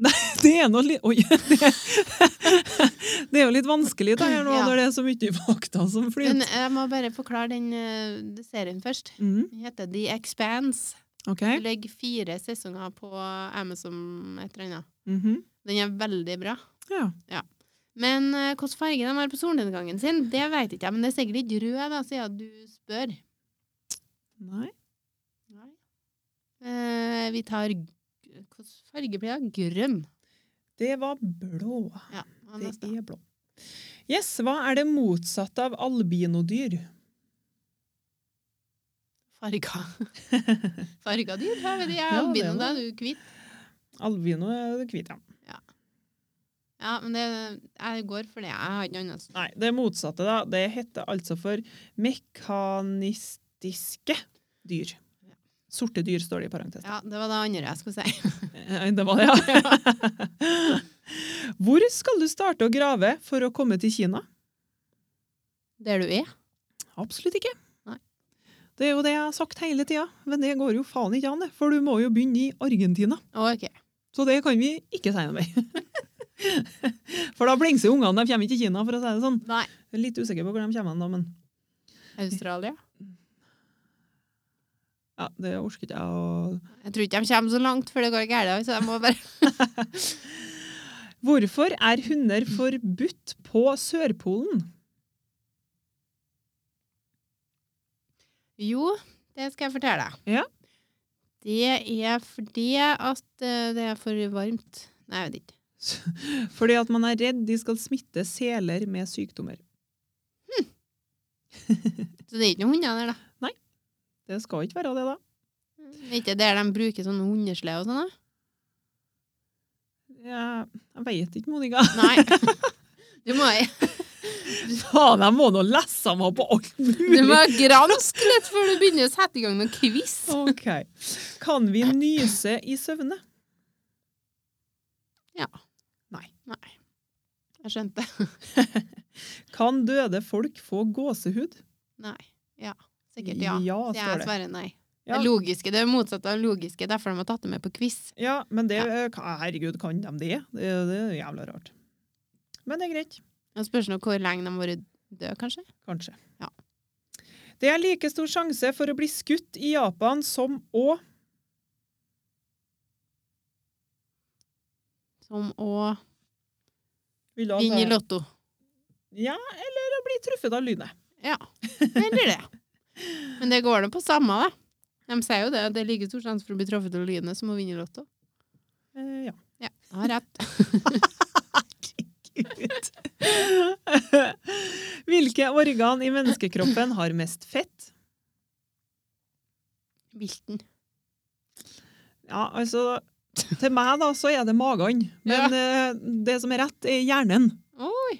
Speaker 3: Nei, det er nå litt Oi! Det, det er jo litt vanskelig det her nå,
Speaker 1: Ja.
Speaker 3: når det er så mye fakta som
Speaker 1: Men
Speaker 3: flyter.
Speaker 1: jeg må bare forklare den eh, serien først.
Speaker 3: Mm,
Speaker 1: Den heter The Expanse.
Speaker 3: OK.
Speaker 1: Det ligger fire sesonger på Amazon et eller annet.
Speaker 3: Mhm.
Speaker 1: Den er veldig bra.
Speaker 3: Ja.
Speaker 1: Men eh, hvilken farge de har på solnedgangen sin, det vet ikke jeg. Men det er sikkert ikke rød, da, siden du spør.
Speaker 3: Nei.
Speaker 1: Eh, vi tar g- Hvilken farge blir det? Grønn.
Speaker 3: Det var blå.
Speaker 1: Ja, hva er
Speaker 3: Det
Speaker 1: neste?
Speaker 3: er blå. Yes, hva er det motsatte av albinodyr?
Speaker 1: Farga. Farga dyr? Jeg vet ikke, jeg
Speaker 3: Ja, det
Speaker 1: begynner
Speaker 3: var
Speaker 1: da, du er hvit.
Speaker 3: Albino er hvit, ja.
Speaker 1: Ja, men det, jeg går for det. Jeg har ikke noe annet.
Speaker 3: Nei, det motsatte, da. Det heter altså for mekanistiske dyr. Sorte dyr står det i parentes.
Speaker 1: Ja, det var det andre jeg skulle si.
Speaker 3: Eh, Det var det, ja. Hvor skal du starte å grave for å komme til Kina?
Speaker 1: Der du er.
Speaker 3: Absolutt ikke.
Speaker 1: Nei.
Speaker 3: Det er jo det jeg har sagt hele tida, men det går jo faen ikke an, det. For du må jo begynne i Argentina.
Speaker 1: Ok.
Speaker 3: Så det kan vi ikke si noe mer. for da blingser ungene, de kommer ikke til Kina, for å si det sånn.
Speaker 1: Nei.
Speaker 3: Jeg er litt usikker på hvor de kommer hen da, men
Speaker 1: Australia.
Speaker 3: ja, det orker ikke jeg å
Speaker 1: Jeg tror ikke de kommer så langt før det går galt, så jeg må bare
Speaker 3: Hvorfor er hunder forbudt på Sørpolen?
Speaker 1: Jo, det skal jeg fortelle deg.
Speaker 3: Ja.
Speaker 1: Det er fordi at eh, det er for varmt. Nei, jeg vet ikke.
Speaker 3: Fordi at man er redd de skal smitte seler med sykdommer.
Speaker 1: Så det er ikke noen hunder der, da.
Speaker 3: Det skal ikke være det, da.
Speaker 1: Det er Ikke der de bruker sånne hundeslede og sånn, da.
Speaker 3: Jeg, jeg veit ikke, Monica.
Speaker 1: Nei. Du må,
Speaker 3: Faen, jeg må nå lese meg opp på alt
Speaker 1: du må
Speaker 3: mulig.
Speaker 1: granske litt før du begynner å sette i gang noen quiz.
Speaker 3: Ok. Kan vi nyse i søvne?
Speaker 1: Nei. Jeg skjønte.
Speaker 3: Kan døde folk få gåsehud?
Speaker 1: Nei. Ja. Sikkert ja.
Speaker 3: Ja,
Speaker 1: Så
Speaker 3: står
Speaker 1: jeg
Speaker 3: det.
Speaker 1: svarer nei.
Speaker 3: Ja.
Speaker 1: Det logiske, det er motsatt av logiske, derfor de har tatt det med på quiz.
Speaker 3: Ja, men det eh, ka- Herregud, kan de det? Det, er- det er jævla rart. Men det er greit.
Speaker 1: Det spørs nå hvor lenge de har vært døde, kanskje.
Speaker 3: Kanskje.
Speaker 1: Ja.
Speaker 3: Det er like stor sjanse for å bli skutt i Japan som å
Speaker 1: Som å
Speaker 3: Vi la
Speaker 1: vinne i
Speaker 3: det-
Speaker 1: lotto.
Speaker 3: sånn Ja, eller å bli truffet av lynet.
Speaker 1: Ja. Eller det. Men det går det på samme, da. De sier jo det, at det er like stor sjanse for å bli truffet av lynet som å vinne i Lotto.
Speaker 3: Eh, ja.
Speaker 1: Ja, jeg har rett.
Speaker 3: Gud. Hvilke organ i menneskekroppen har mest fett?
Speaker 1: Vilten.
Speaker 3: Ja, altså Til meg, da, så er det magen. Men eh, det som er rett, er hjernen.
Speaker 1: Oi!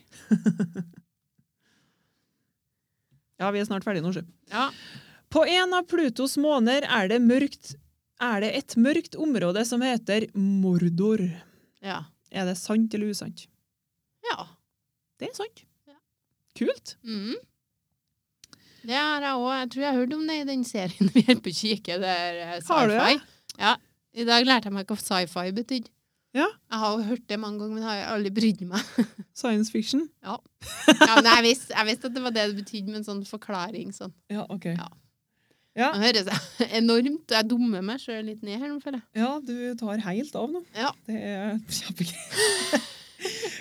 Speaker 3: Ja, vi er snart ferdige nå, sjø.
Speaker 1: Ja.
Speaker 3: På en av Plutos måner er det, mørkt, er det et mørkt område som heter Mordor.
Speaker 1: Ja.
Speaker 3: Er det sant eller usant?
Speaker 1: ja.
Speaker 3: Det er sant.
Speaker 1: Ja.
Speaker 3: Kult.
Speaker 1: Mm. Det har jeg òg. Jeg tror jeg hørte om det i den serien vi holder på å kikke, der eh,
Speaker 3: Har du
Speaker 1: sci-fi. Ja. I dag lærte jeg meg hva sci-fi betydde.
Speaker 3: Ja.
Speaker 1: Jeg har jo hørt det mange ganger, men jeg har aldri brydd meg.
Speaker 3: Science fiction.
Speaker 1: Ja, men jeg visste, jeg visste at det var det det betydde, med en sånn forklaring sånn.
Speaker 3: Ja, ok.
Speaker 1: Ja.
Speaker 3: Ja,
Speaker 1: Nå høres jeg enormt Jeg dummer meg sjøl litt ned her nå, føler jeg.
Speaker 3: ja, du tar helt av nå.
Speaker 1: Ja.
Speaker 3: Det er kjempegøy.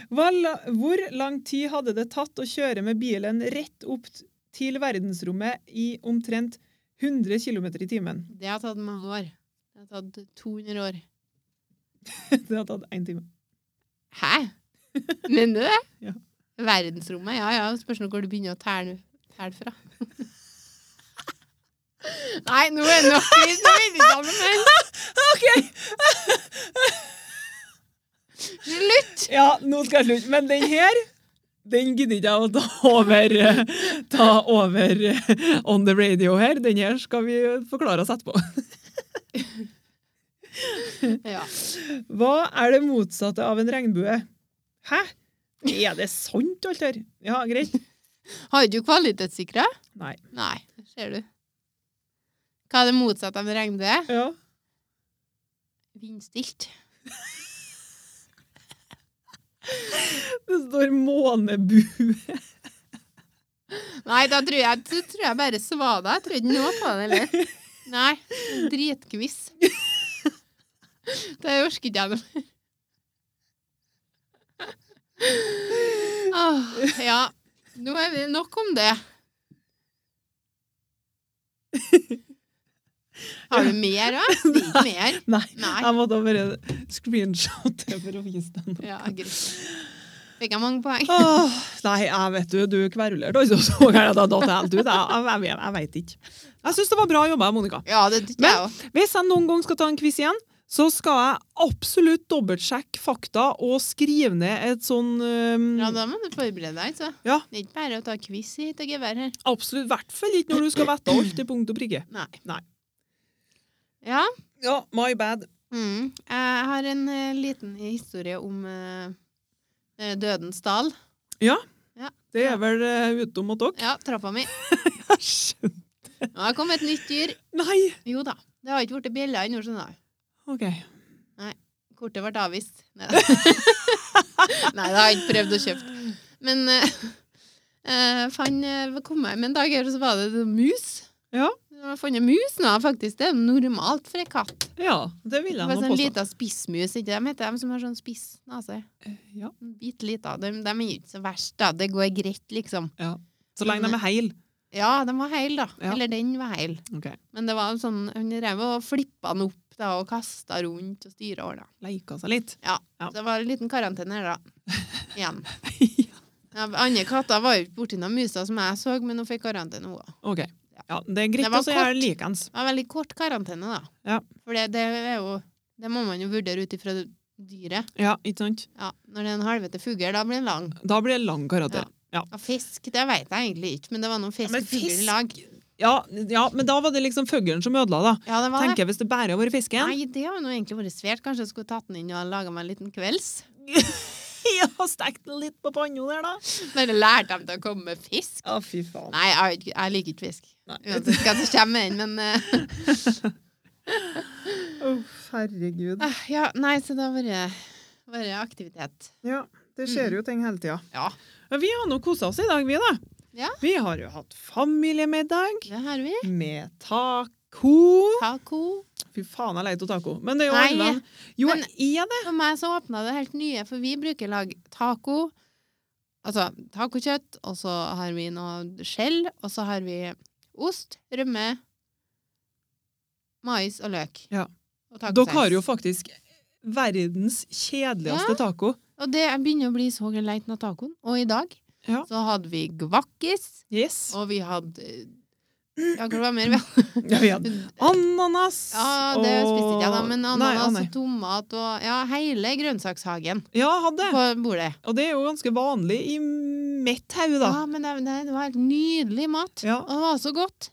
Speaker 3: Hva la- Hvor lang tid hadde det tatt å kjøre med bilen rett opp t- til verdensrommet i omtrent 100 km i timen?
Speaker 1: Det har tatt mange år. Det har tatt 200 år.
Speaker 3: Det hadde tatt én time.
Speaker 1: Hæ? Mener du det?
Speaker 3: Ja.
Speaker 1: Verdensrommet? Ja ja, spørs nå hvor du begynner å tæle, tæle fra. Nei, nå er det nok litt Nå vil jeg ikke ha noe mer.
Speaker 3: Ok!
Speaker 1: Slutt!
Speaker 3: Ja, nå skal jeg slutte. Men den her, den gidder ikke jeg å ta over, eh, ta over eh, on the radio her. Den her skal vi forklare oss etterpå.
Speaker 1: Ja.
Speaker 3: Hva er det motsatte av en regnbue? Hæ? Er det sant, alt her? Ja, greit.
Speaker 1: Har du kvalitetssikra?
Speaker 3: Nei.
Speaker 1: Nei, ser du. Hva er det motsatte av en regnbue?
Speaker 3: Ja.
Speaker 1: Vindstilt.
Speaker 3: Det står månebue.
Speaker 1: Nei, da tror jeg, da tror jeg bare svada. Jeg tror ikke noe på det heller. Nei. Dritkviss. Det orker ikke jeg noe mer. Åh, Ah, Ja. Nå er vi nok om det. Har du mer òg? Det er ikke mer.
Speaker 3: Nei.
Speaker 1: Nei.
Speaker 3: Jeg måtte bare screenshotte for å vise den.
Speaker 1: Ja, greit. Fikk jeg mange poeng?
Speaker 3: Åh, nei, jeg vet du, du kverulerte altså så gærent. Da datt jeg helt ut. Jeg, jeg, jeg, jeg veit ikke. Jeg syns det var bra jobba, Monica.
Speaker 1: Ja, det tykker jeg
Speaker 3: Men-
Speaker 1: òg.
Speaker 3: Hvis jeg noen gang skal ta en quiz igjen, så skal jeg absolutt dobbeltsjekke fakta og skrive ned et sånn øhm,
Speaker 1: Ja, da må du forberede deg, så.
Speaker 3: Ja.
Speaker 1: Det er ikke bare å ta quiz hit og gevær her.
Speaker 3: Absolutt. I hvert fall ikke når du skal vite alt til punkt og prikke.
Speaker 1: Nei.
Speaker 3: Nei.
Speaker 1: Ja.
Speaker 3: Ja, my bad.
Speaker 1: Mm. Jeg har en eh, liten historie om eh, eh, Dødens dal.
Speaker 3: Det er vel eh, utom og dere.
Speaker 1: Ja, trappa mi.
Speaker 3: Æsj.
Speaker 1: Nå har kommet et nytt dyr.
Speaker 3: Nei!
Speaker 1: Jo da. Det har ikke blitt bjella ennå, skjønner du.
Speaker 3: OK.
Speaker 1: Kortet ble avvist. Nei da. Nei, det har jeg ikke prøvd å kjøpe. Men eh, eh, fan, eh, kom jeg med en dag her, og så var det en mus.
Speaker 3: Ja.
Speaker 1: Jeg har funnet mus nå, faktisk. Det er normalt for en katt.
Speaker 3: Ja, det vil
Speaker 1: Det
Speaker 3: jeg
Speaker 1: var
Speaker 3: nå
Speaker 1: sånn
Speaker 3: påstå.
Speaker 1: lita spissmus, ikke de heter de som har sånn spiss nase?
Speaker 3: Ja.
Speaker 1: Bitte lita. De, de er jo ikke så verst, da. Det går greit, liksom.
Speaker 3: Så lenge de er heil.
Speaker 1: Ja, den var heil, da.
Speaker 3: Ja.
Speaker 1: Eller den var heil.
Speaker 3: Ok.
Speaker 1: Men det var en sånn, hun rev og flippa den opp da, og kasta rundt og styra over. da.
Speaker 3: Leika seg litt. Ja.
Speaker 1: Så det var en liten karantene her, da. Igjen.
Speaker 3: Ja.
Speaker 1: Ja, andre katter var jo ikke borti noen muser som jeg så, men hun fikk karantene, hun òg.
Speaker 3: OK. Ja, det er
Speaker 1: Det
Speaker 3: greit,
Speaker 1: var
Speaker 3: og så er
Speaker 1: kort.
Speaker 3: jeg likeens.
Speaker 1: Det var veldig kort karantene, da.
Speaker 3: Ja.
Speaker 1: For det, det er jo Det må man jo vurdere ut ifra dyret.
Speaker 3: Ja, ikke sant?
Speaker 1: Ja, Når det er en halvete fugl, da blir den lang.
Speaker 3: Da blir det lang karakter.
Speaker 1: Og fisk, det veit jeg egentlig ikke, men det var noen fisk
Speaker 3: men
Speaker 1: og fugl i
Speaker 3: fisk-
Speaker 1: lag.
Speaker 3: Ja, ja, men da var det liksom fuglen som ødela, da.
Speaker 1: Ja, det var
Speaker 3: Tenker jeg hvis det bare har vært
Speaker 1: det.
Speaker 3: fisken.
Speaker 1: Nei, det har jo nå egentlig vært svært. Kanskje jeg skulle tatt den inn og laga meg en liten kvelds.
Speaker 3: Ja, stekt den litt på panna der, da.
Speaker 1: Bare lært dem til å komme med fisk.
Speaker 3: Å, fy faen.
Speaker 1: Nei, jeg, har ikke- jeg liker ikke fisk.
Speaker 3: Nei.
Speaker 1: Uansett hva som kommer inn, men eh,
Speaker 3: herregud.
Speaker 1: ah, Ja, nei, så det har vært vært aktivitet.
Speaker 3: Ja, det
Speaker 1: skjer
Speaker 3: jo ting hele tida.
Speaker 1: Ja,
Speaker 3: Vi har nå kosa oss i dag, vi, da.
Speaker 1: Ja.
Speaker 3: Vi har jo hatt familiemiddag
Speaker 1: det har vi.
Speaker 3: med taco.
Speaker 1: Taco.
Speaker 3: Fy faen, jeg er lei av taco. Men det er jo
Speaker 1: Nei,
Speaker 3: alven. Jo,
Speaker 1: men-
Speaker 3: er det?
Speaker 1: For meg så åpna det helt nye, for vi bruker lag taco. Altså tacokjøtt, og så har vi noe skjell, og så har vi ost, rømme, mais og løk.
Speaker 3: Ja.
Speaker 1: Og tacosaus.
Speaker 3: Dere har jo faktisk verdens kjedeligste taco.
Speaker 1: Og det jeg begynner å bli så leit av tacoen. Og i dag
Speaker 3: Ja.
Speaker 1: så hadde vi gvakkis,
Speaker 3: Yes.
Speaker 1: og vi hadde Ja, hva var det mer?
Speaker 3: Ja, vi hadde ananas.
Speaker 1: Ja, det spiste ikke jeg, da, men
Speaker 3: Nei,
Speaker 1: ananas
Speaker 3: å, nei.
Speaker 1: og tomat og Ja, hele grønnsakshagen
Speaker 3: Ja, hadde.
Speaker 1: på bordet.
Speaker 3: Og det er jo ganske vanlig i mitt hode, da.
Speaker 1: Ja, men det, det, det var helt nydelig mat.
Speaker 3: Ja.
Speaker 1: Og det var så godt.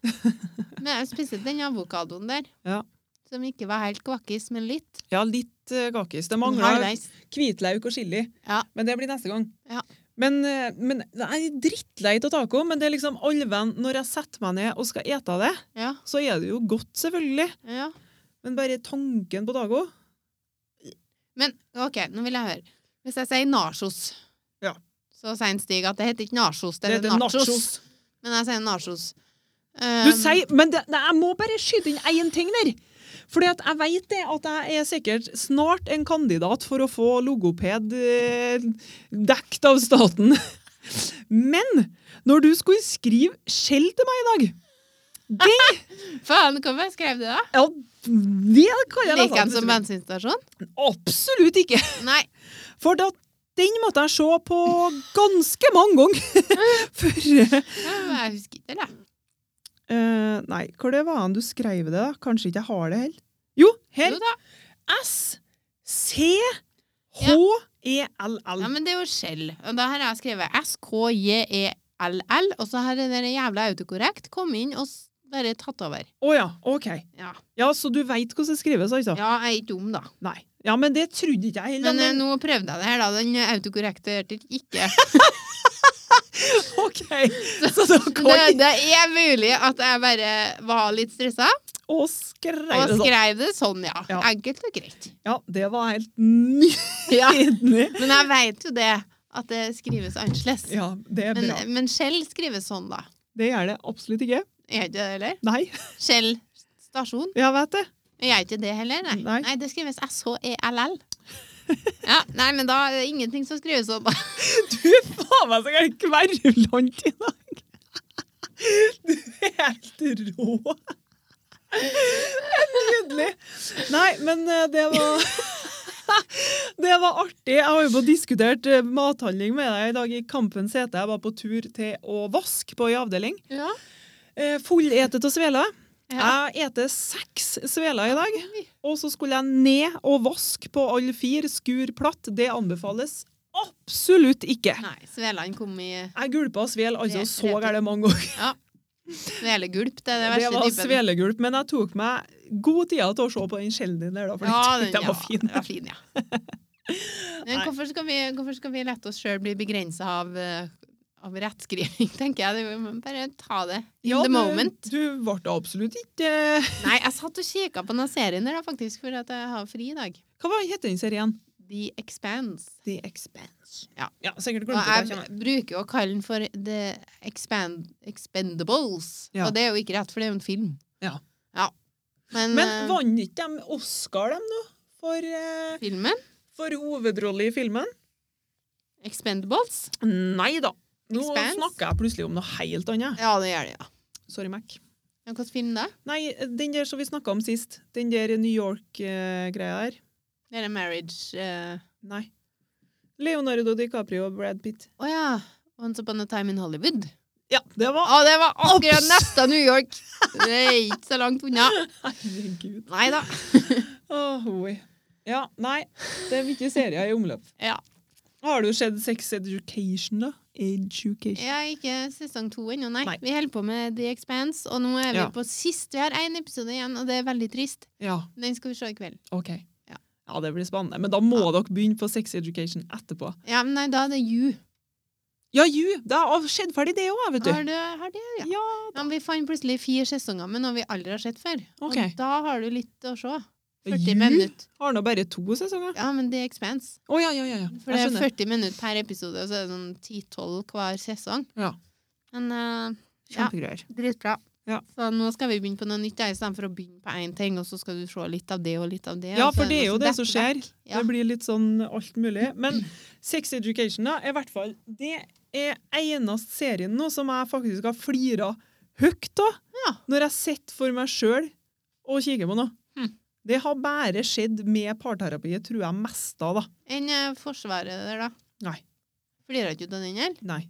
Speaker 1: Men jeg spiste den avokadoen der.
Speaker 3: Ja.
Speaker 1: Som ikke var helt kvakkis, men litt.
Speaker 3: Ja, litt eh, kakis. Det
Speaker 1: Men
Speaker 3: mangler
Speaker 1: halvveis.
Speaker 3: hvitlauk og chili,
Speaker 1: Ja.
Speaker 3: men det blir neste gang.
Speaker 1: Ja.
Speaker 3: Men, eh, men jeg er drittlei av taco, men det er liksom alven når jeg setter meg ned og skal ete det,
Speaker 1: Ja,
Speaker 3: så er det jo godt, selvfølgelig.
Speaker 1: ja.
Speaker 3: Men bare tanken på taco
Speaker 1: Men OK, nå vil jeg høre. Hvis jeg sier nachos,
Speaker 3: Ja.
Speaker 1: så sier en Stig at det heter ikke nachos, det
Speaker 3: Det
Speaker 1: heter
Speaker 3: heter
Speaker 1: nachos.
Speaker 3: nachos.
Speaker 1: Men jeg sier nachos.
Speaker 3: Du
Speaker 1: Um,
Speaker 3: sier, men det, nei, jeg må bare skyte inn én ting der. Fordi at jeg vet det at jeg er sikkert snart en kandidat for å få logoped eh, dekt av staten. Men når du skulle skrive skjell til meg i dag
Speaker 1: Faen, hvorfor jeg skrev det, da?
Speaker 3: ja, Det kan jeg
Speaker 1: Liker
Speaker 3: nesten
Speaker 1: den som bensinstasjon?
Speaker 3: Absolutt ikke!
Speaker 1: Nei.
Speaker 3: For da, den måtte jeg se på ganske mange ganger før eh,
Speaker 1: Jeg husker ikke det.
Speaker 3: Nei, hvor det var han du skrev det? da? Kanskje ikke jeg har det heller? Jo, her.
Speaker 1: Jo da.
Speaker 3: E, S-C-H-E-L-L.
Speaker 1: Ja, men det er jo skjell. Og da har jeg skrevet SKJELL, E og så har det der jævla autokorrekt kommet inn og s- bare tatt over.
Speaker 3: Å ja, OK.
Speaker 1: Ja,
Speaker 3: Ja, Så du veit hvordan det skrives, altså?
Speaker 1: ja jeg er ikke dum, da.
Speaker 3: Nei. Ja, men det trodde ikke jeg heller.
Speaker 1: Men eh,
Speaker 3: men-
Speaker 1: nå prøvde jeg det her, da. Den autokorrekte hørte ikke.
Speaker 3: OK! Så da
Speaker 1: Men Det,
Speaker 3: kan
Speaker 1: det er mulig at jeg bare var litt stressa
Speaker 3: Og skrev
Speaker 1: og
Speaker 3: det sånn.
Speaker 1: skrev det sånn, ja.
Speaker 3: Ja.
Speaker 1: Enkelt og greit.
Speaker 3: Ja, det var helt nydelig.
Speaker 1: Ja. Men jeg veit jo det, at det skrives annerledes.
Speaker 3: Ja, det er
Speaker 1: Men, eh,
Speaker 3: bra.
Speaker 1: men skjell skrives sånn, da.
Speaker 3: Det gjør det absolutt ikke.
Speaker 1: Er ikke det, eller?
Speaker 3: Nei,
Speaker 1: Skjell stasjon.
Speaker 3: jeg vet det.
Speaker 1: Jeg er ikke det heller, nei.
Speaker 3: Nei.
Speaker 1: Nei, det skrives S-H-E-L-L. Ja, nei, men da er det ingenting som skrives sånn.
Speaker 3: Du er faen meg så gæren kvervlant i dag! Du er helt rå! Det er nydelig! Nei, men eh, det var Det var artig. Jeg har jo fått diskutert eh, mathandling med deg i dag i Kampens hete. Jeg var på tur til å vaske på ei avdeling.
Speaker 1: Ja.
Speaker 3: Eh, Fulletet av sveler.
Speaker 1: Ja.
Speaker 3: Jeg eter seks sveler i dag.
Speaker 1: Oi.
Speaker 3: Og så skulle jeg ned og vaske på alle fire, skur platt. Det anbefales absolutt ikke.
Speaker 1: Nei, Sveland kom i
Speaker 3: Jeg gulpa svel altså
Speaker 1: Tre-
Speaker 3: så
Speaker 1: tre-
Speaker 3: gærent mange ganger.
Speaker 1: Ja. Svelgulp, det er det
Speaker 3: Det
Speaker 1: verste
Speaker 3: var
Speaker 1: typen.
Speaker 3: svelegulp, men jeg tok meg god tid til å se på den skjelden der, da, for
Speaker 1: Ja,
Speaker 3: den,
Speaker 1: den,
Speaker 3: den var
Speaker 1: ja,
Speaker 3: fin.
Speaker 1: den var fin, ja. Men
Speaker 3: Nei.
Speaker 1: hvorfor skal vi, hvorfor skal vi lette oss sjøl bli begrensa av, eh, av rettskriving, tenker jeg. Det, vi må bare ta det in
Speaker 3: Ja,
Speaker 1: the moment.
Speaker 3: Du, du ble absolutt ikke
Speaker 1: Nei, jeg satt og kikka på den serien der, da, faktisk, for at jeg har fri i dag.
Speaker 3: Hva var het den serien?
Speaker 1: The Expanse.
Speaker 3: The Expanse.
Speaker 1: Ja.
Speaker 3: ja
Speaker 1: Og
Speaker 3: sikkert glemte jeg
Speaker 1: jeg
Speaker 3: det.
Speaker 1: bruker jo å kalle den for The Expand, Expendables,
Speaker 3: Ja.
Speaker 1: og det er jo ikke rett, for det er jo en film.
Speaker 3: Ja.
Speaker 1: Ja. Men,
Speaker 3: Men
Speaker 1: eh,
Speaker 3: vant ikke de Oscar, dem nå? For, eh,
Speaker 1: filmen,
Speaker 3: for hovedrolle i filmen?
Speaker 1: Expendables,
Speaker 3: Nei da. Nå
Speaker 1: Expanse?
Speaker 3: snakker jeg plutselig om noe helt annet.
Speaker 1: ja, det gjør det, ja.
Speaker 3: Sorry, Mac.
Speaker 1: Men Hvilken film da?
Speaker 3: Nei, den der som vi snakka om sist. Den der New York-greia der.
Speaker 1: Det er Marriage eh,
Speaker 3: Nei. Leonardo DiCaprio og Brad Pitt.
Speaker 1: Å ja. Once Upon a Time in Hollywood.
Speaker 3: Ja, det var
Speaker 1: Å, det var akkurat
Speaker 3: Ops!
Speaker 1: nesten New York! Det er ikke så langt unna.
Speaker 3: Herregud.
Speaker 1: Nei da.
Speaker 3: Åh, hoi. Ja, nei. Det er mye serier i omløp.
Speaker 1: Ja.
Speaker 3: Har du sett Sex Education, da? Education.
Speaker 1: Jeg er ikke sesong to ennå, nei.
Speaker 3: Nei.
Speaker 1: Vi holder på med The Expanse, og nå er vi
Speaker 3: Ja.
Speaker 1: på sist. Vi har én episode igjen, og det er veldig trist.
Speaker 3: Ja,
Speaker 1: Den skal vi se i kveld.
Speaker 3: OK.
Speaker 1: Ja.
Speaker 3: Ja, det blir spennende. Men da må dere begynne på Sex Education etterpå.
Speaker 1: Ja, men nei, da er det You.
Speaker 3: Ja, ju! Det har skjedd ferdig, det òg, vet du.
Speaker 1: Har du har det, ja.
Speaker 3: Ja.
Speaker 1: ja men vi fant plutselig fire sesonger med noe vi aldri har sett før.
Speaker 3: Ok.
Speaker 1: Og da har du litt å se. 40
Speaker 3: You?
Speaker 1: minutter.
Speaker 3: Har nå bare to sesonger.
Speaker 1: Ja, men The Expanse.
Speaker 3: Å ja, ja, ja. ja.
Speaker 1: For det
Speaker 3: Jeg
Speaker 1: er
Speaker 3: skjønner.
Speaker 1: 40 minutter per episode, og så er det sånn 10-12 hver sesong.
Speaker 3: Ja.
Speaker 1: Men eh, ja.
Speaker 3: Kjempegreier.
Speaker 1: Dritbra.
Speaker 3: Ja.
Speaker 1: Så nå skal vi begynne på noe nytt, ja, istedenfor å begynne på én ting, og så skal du se litt av det og litt av det.
Speaker 3: Ja,
Speaker 1: og så
Speaker 3: for det er jo
Speaker 1: noe
Speaker 3: det som
Speaker 1: detter
Speaker 3: skjer.
Speaker 1: vekk. Ja.
Speaker 3: Det blir litt sånn alt mulig. Men Sex Education da, er i hvert fall det er eneste serien nå som jeg faktisk har flira høyt av
Speaker 1: Ja.
Speaker 3: når jeg sitter for meg sjøl og kikker på noe.
Speaker 1: Hm.
Speaker 3: Det har bare skjedd med parterapiet, tror jeg mest av, da.
Speaker 1: Enn eh, Forsvaret der, da?
Speaker 3: Nei.
Speaker 1: Flirer ikke du av den, eller?
Speaker 3: Nei.